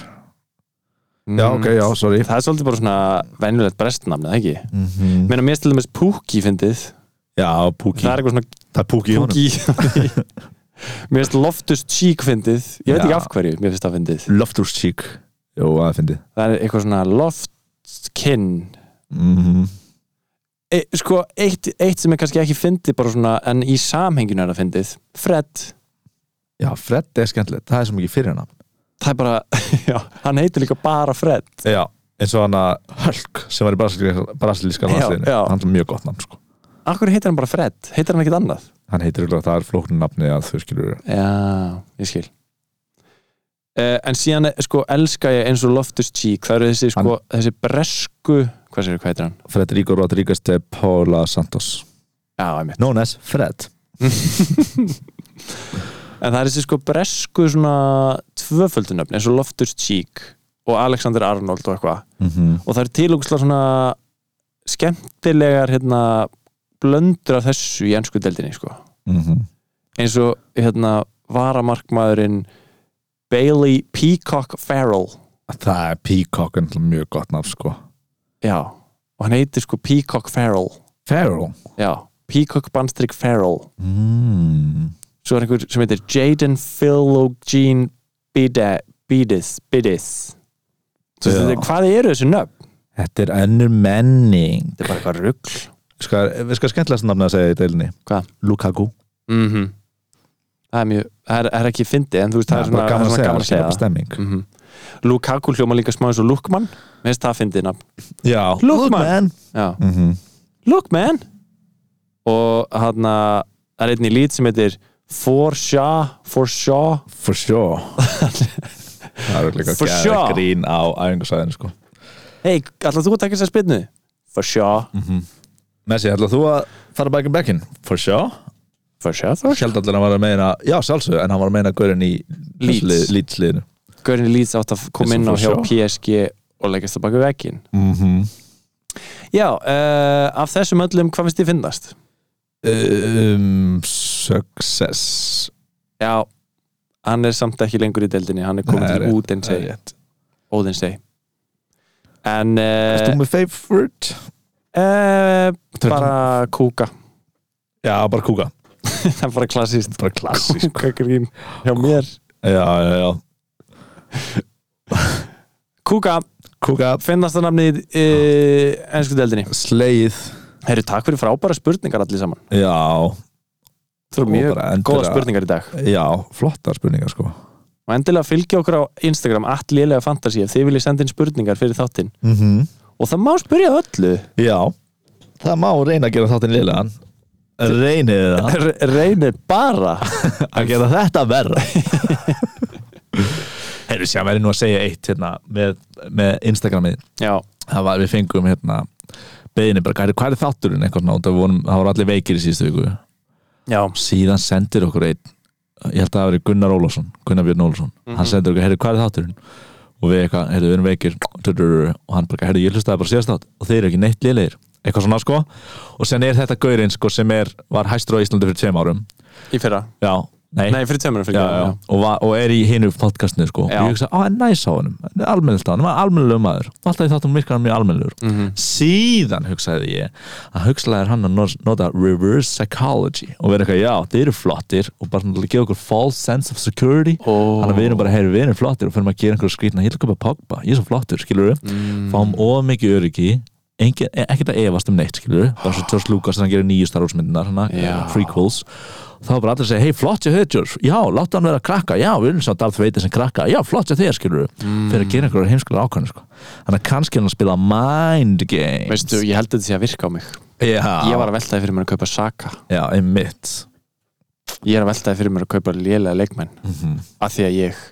Mhm. Já, ok, já, sorry Mm, það er svolítið bara svona venjulegt brestnafn, eða ekki? Mm. Mhm. meina, mér stilum þess Pookie fyndið Já, Púki það er eitthvað svona Það er Púki í honum Pookie mér finnst Loftus Cheek fyndið ég veit Já. ekki af hverju mér finnst það fyndið Loftus Cheek Jó, það er fyndið það er eitthvað svona Loftkinn Mhm. e, sko, eitt, eitt sem er kannski ekki fyndið bara svona, en í samhenginu er það fyndið Fred, Já, Fred er skemmtilegt Það er svo mikið fyrir hana það er bara já, hann heitir líka bara Fred Já, eins og hana Hölk sem var í brasilíska, brasilíska Já, landsliðinu já. Hann er mjög gott nafn, sko Akkur heitir hann bara Fred, heitir hann ekkert annað Hann heitir auðvitað það er flóknum nafni að þau skilur Já, ég skil uh, En síðan, eh, sko, elska ég eins og Loftus Cheek, það eru þessi, sko, þessi bresku, hvað sér, hvað heitir hann? Fredrico Rodríguez de Paula Santos Já, einmitt Known as Fred En það er þessi, sko, bresku svona tvöföldunöfn, eins og Loftus Cheek og Alexander Arnold og eitthvað Mhm. og það er tilókslega svona skemmtilegar hérna blöndur af þessu í ennsku deldinni sko. Mhm. eins og hérna varamarkmaðurinn Bailey Peacock Farrell Það er Peacock en mjög gott nafn, sko já, og hann heitir sko Peacock Farrell Farrell já, Peacock Bandstrik Farrell mm. svo er einhver sem heitir Jaden Philogene Bíde- Bídis Bídis Þú veist, Já. þetta- Hvað eru þessu nöfn? Þetta er önnur menning Þetta er bara eitthvað rugg Ska, við skal skemmtilegast nafna að segja í deilinni Hvað? Lukaku Mhm. Það er mjög, það er, það er ekki fyndi en þú veist, það bara er svona það er svona gaman að segja bara það stemning mm Lukaku hljóma líka smá eins og Lukman Mér finnst það fyndið nafn Já, Lookman. Já. mm Lookman og hann að það er einn í lít sem heitir Forshaw Forshaw For sure Það er líka For geðveikt sure. grín á æfingarsæðinu sko Hei, allar þú að taka þess að spilnu? Forshaw Messi, ætlaðu þú að fara um bækinn bækinn? For sure Forshaw Forshaw Held allir að hann var að meina Já, sjálfsög, en hann var að meina Gaurin í Leeds. Lítsliðinu Gaurin í lít átt að koma Eins og inn á hjá Forshaw. PSG og leggast það baka vekkin mm -hmm. Já, uh, af þessum öllum hvað finnst þið finnast? um, Success Já, hann er samt ekki lengur í deildinni hann er Nei, komin það er rétt, til Údensei Það er rétt. Óðinsei En Ert þú uh, með favorite? uh, bara kúka Já, bara kúka Það er bara klassist Bara klassísk Kúkagrín hjá mér Já, já, já Kúka, Kúka finnast það namnið uh, ennsku deildinni Sleið Herru, takk fyrir frábæra spurningar allir saman Já, Þú eru Og mjög bara endilega- góða spurningar í dag já, flottar spurningar sko og endilega fylgja okkur á Instagram alllélega fantasy ef þið viljið senda inn spurningar fyrir þáttinn mm og það má spyrja að öllu Já, það má reyna að gera þáttinn liðlegan Reynið það R reynið bara að gera þetta verra Herru, sjá, verður nú að segja eitt hérna með, með Instagramið Já, það var, við fengum hérna beðinni bara, hvað er, hvað er þátturinn eitthvað svona, og það vorum, það voru allir veikir í síðustu viku já, síðan sendir okkur einn ég held að það hafi verið Gunnar Ólafsson Gunnar Björn Ólafsson, hann sendir okkur, heyrðu hvað er þátturinn og við eitthvað, heyrðu við erum veikir tudur, og hann bara, heyrðu ég hlustaði bara síðast þátt og þeir eru ekki neitt lélegir, eitthvað svona sko og sen er þetta gaurinn sko sem er var hæstur á Íslandi fyrir tveim árum í fyrra já, nei, Nei, fyrir tveimur fyrir já, já. Og, var, og er í hinu podcastinu sko og Já. ég hugsa, á, en næs á honum, almennilt á honum hann var almennilegur maður, og alltaf í þáttum virkar hann mjög almennilegur Mhm. síðan hugsaði ég að hugsaði hann að nos- nota reverse psychology og vera eitthvað, já, þeir eru flottir og bara náttúrulega gefa okkur false sense of security Ó. þannig að við erum bara, heyri, við erum flottir og fyrir maður að gera einhverju skrýtna, ég vil köpa Pogba, ég er svo flottur skilur við, Mm. fáum of mikið öryggi engin, e- ekkert að efast um neitt skilur við, bara svo George Lucas þannig að gera nýju Star Wars myndinar Já. hana, prequels þá var bara allir að segja, hei, flott sér Hedgers já, láta hann vera krakka, já, við viljum sá Darth Vader sem krakka, já, flott sér þér, skilur Mm. fyrir að gera einhverjar heimskulega ákvæðin, sko þannig að kannski er hann að spila mind games Veistu, ég held að þetta sé að virka á mig já, Ég var að velta því fyrir mér að kaupa Saka já, einmitt Ég er að velta því fyrir mér að kaupa lélega leikmenn mm af því að ég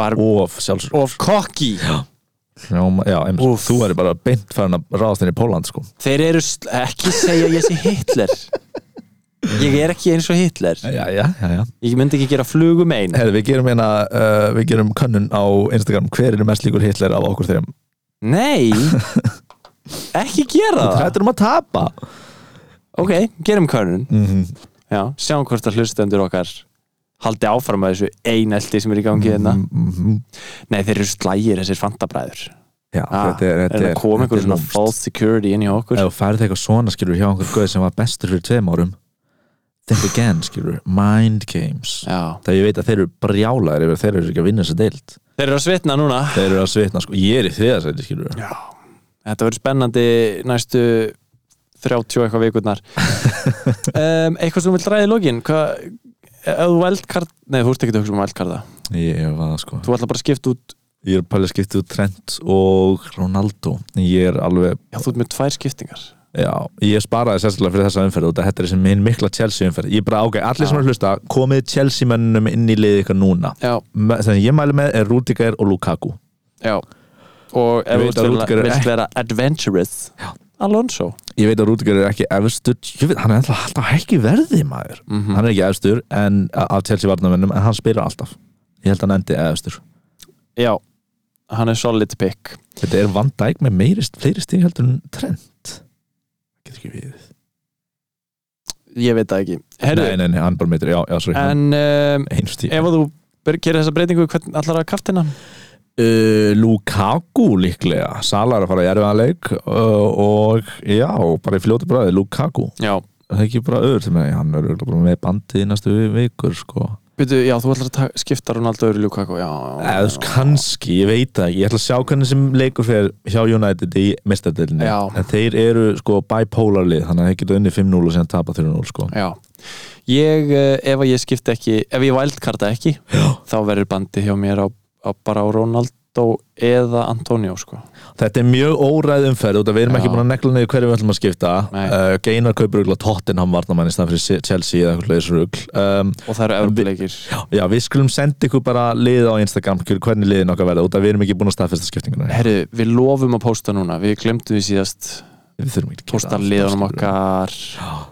var of sjálfsög, of cocky já, einmitt Úff. þú er bara beint farin að ráðast inn í Póland, sko Þeir eru, sl- ekki segja ég sé Hitler Ég er ekki eins og Hitler já, já, já, já Ég myndi ekki gera flugum ein Herri, við gerum hérna, uh, við gerum könnun á Instagram, hver er mest líkur Hitler af okkur þeim Nei Ekki gera það hættur um að tapa Ok, gerum körnun mm Já, sjáum hvort að hlustendur okkar haldi áfram að þessu einelti sem er í gangi hérna Mhm. Nei, þeir eru slægir þessir fantabræður já, ah, þetta er, þetta að koma einhver þetta svona lúmskt. false security inn í okkur ef þú færið eitthvað svona skilur hjá einhver guð sem var bestur fyrir tveim árum think again skilur, mind games Já. þegar ég veit að þeir eru brjálaðir ef þeir eru ekki að vinna þessa deild Þeir eru að svitna núna þeir eru að svitna, sko, ég er í þriðasæti skilur Já. Þetta verður spennandi næstu 30 eitthvað vikurnar um, Eitthvað sem þú vilt ræði lógin Hvað, ef þú veldkart Nei, þú ert ekki að hugsa um veldkarta ég var það sko Þú ætla bara að skipta út ég er pælið skiptið úr Trent og Ronaldo ég er alveg, Já, þú ert með tvær skiptingar já, ég sparaði sérstaklega fyrir þessa umferð og þetta er þessi minn mikla Chelsea umferð ég bara, ok, allir sem Já. er að hlusta komið Chelsea mennum inn í liðið ykkar núna Já, þannig að ég mæli með er Rudiger og Lukaku já Og Ég ef þú veit að vilt Rúdger er vera, vilt ekki- vera adventurous Já. Alonso ég veit að Rúdiger er ekki efstur ég veit, hann er alltaf, alltaf ekki verði maður Mhm. hann er ekki efstur en, af Chelsea varnamönnum en hann spyrir alltaf ég held að hann endi efstur Já, hann er solid pick þetta er Van Dijk með meirist fleiri stíg heldur en Trent getur ekki við Ég veit það ekki nei, Herru, nei, nei, hann bara meitur, já, já, sorry en um, einu stíg ef að þú ber- gerir þessa breytingu Hvernig allar að kaftina? uh, Lukaku líklega Salar að fara í erfiðan leik uh, og já, bara í fljótu bræði Lukaku, Já, það er ekki bara öður sem hann er örugglega bara með bandið í næstu vikur sko Byrju, já, þú ætlar að ta- skipta Ronaldo öðru Lukaku, já, já, eða þú veist, kannski, ég veit það ekki. ég ætla að sjá hvernig sem leikur fyrir hjá United í mistadeilinni, Já. en þeir eru sko bipolar lið, þannig að þeir geta unni 5-0 og síðan tapa 3-0 sko já. Ég, eh, ef að ég skipta ekki, ef ég vældkarta ekki, já. þá verður bandi hjá mér á, á bara á Ronaldo eða Antonio, sko. Þetta er mjög óræð umferð út að við erum Já. ekki búin að negla niður hverju við ætlum að skipta Nei. uh, Geinar kaupur ykkur Tottenham varnamann í staðan fyrir Chelsea eða eitthvað leysur ykkur um, Og það eru En við- Evropuleikir. Já, við skulum senda ykkur bara lið á Instagram hvernig liðin okkar verða út að við erum ekki búin að staðfesta skiptinguna Herru, við lofum að pósta núna, við glemtum því síðast Við þurfum ekki að gera sko. pósta allt, liðunum skilurðu. okkar.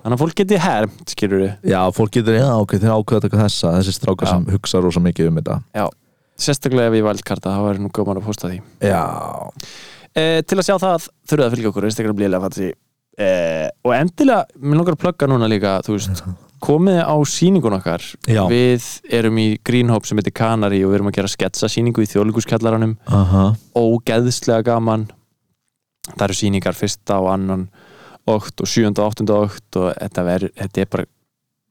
Þannig að fólk geti hermt, skilur við. Já, fólk getur, já, ok, þeir ákveða að taka þessa þessi strákar Já. sem hugsa rosa mikið um þetta Sérstaklega ef ég vældkarta, þá verður nú gaman að pósta því. Já, Eh, til að sjá það þurfið að fylgja okkur á Instagram blíðilega fatsi eh, og endilega, mér langar að plugga núna líka þú veist, komið á sýningun okkar Já. við erum í Greenhop sem heitir Kanari og við erum að gera sketsa sýningu í þjóðlíkuskallaranum aha ógeðslega gaman það eru sýningar fyrsta og annan ótt og sjönda og áttunda ótt og þetta, ver, þetta er bara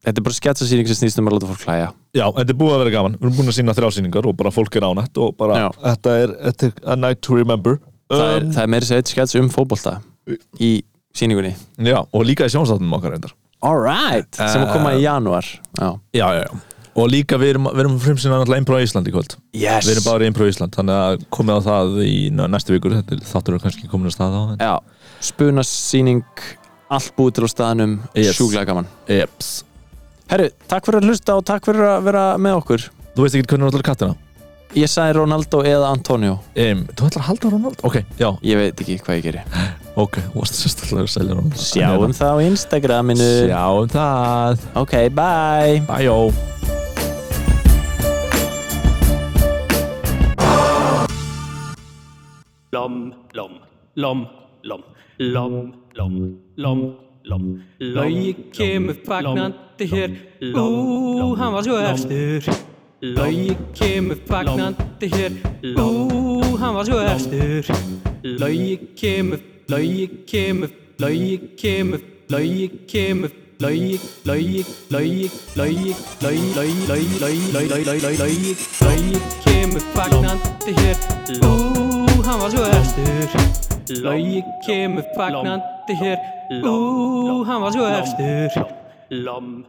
þetta er bara sketsa sýning sem snýst um að láta fólk hlæja Já, þetta er búið að vera gaman, við erum búin að sína þrjásýningar og bara fólk er ánætt og bara Já. þetta er, þetta er a night to remember það er, það er meira sér eitt skets um fótbolta í sýningunni Um, Já, og líka í sjónstáttunum okkar reyndar Alright, sem að koma í janúar Já. Já, já, já Og líka við erum, við erum frimsinn annað Impro Ísland í kvöld Yes. Við erum bara í Impro Ísland, þannig að komið á það í næ- næstu vikur Þetta er- Þáttur eru kannski komin að staða á en... Já, spunasýning allt búið til á staðanum Yes. sjúklega gaman Eps Herru, takk fyrir að hlusta og takk fyrir að vera með okkur Þú veist ekki hvernig þú ætlar að kattina? Ég sagði Ronaldo eða Antonio Um, þú ætlar að halda Ronald? Ok, já, Ég veit ekki hvað ég geri ok, þú varst sérst alltaf að selja Ronald Sjáum um það á Instagraminu Sjáum það Ok, bye Bæjó Lom, lom, lom, lom, lom, lom, lom, lom, Logi kemur fagnandi hér Ú, hann var sko svo efstur Logi kemur fagnandi hér Ú, hann Uh, var svo efstur Logi kemur, logi kemur, logi kemur, logi kemur Logi, logi, logi, logi, logi, logi, logi, logi, logi, logi, logi, logi Logi kemur fagnandi hér Ú, hann Uh, var svo efstur Logi Uh, kemur fagnandi hér Ú, hann var svo efstur lom, lom.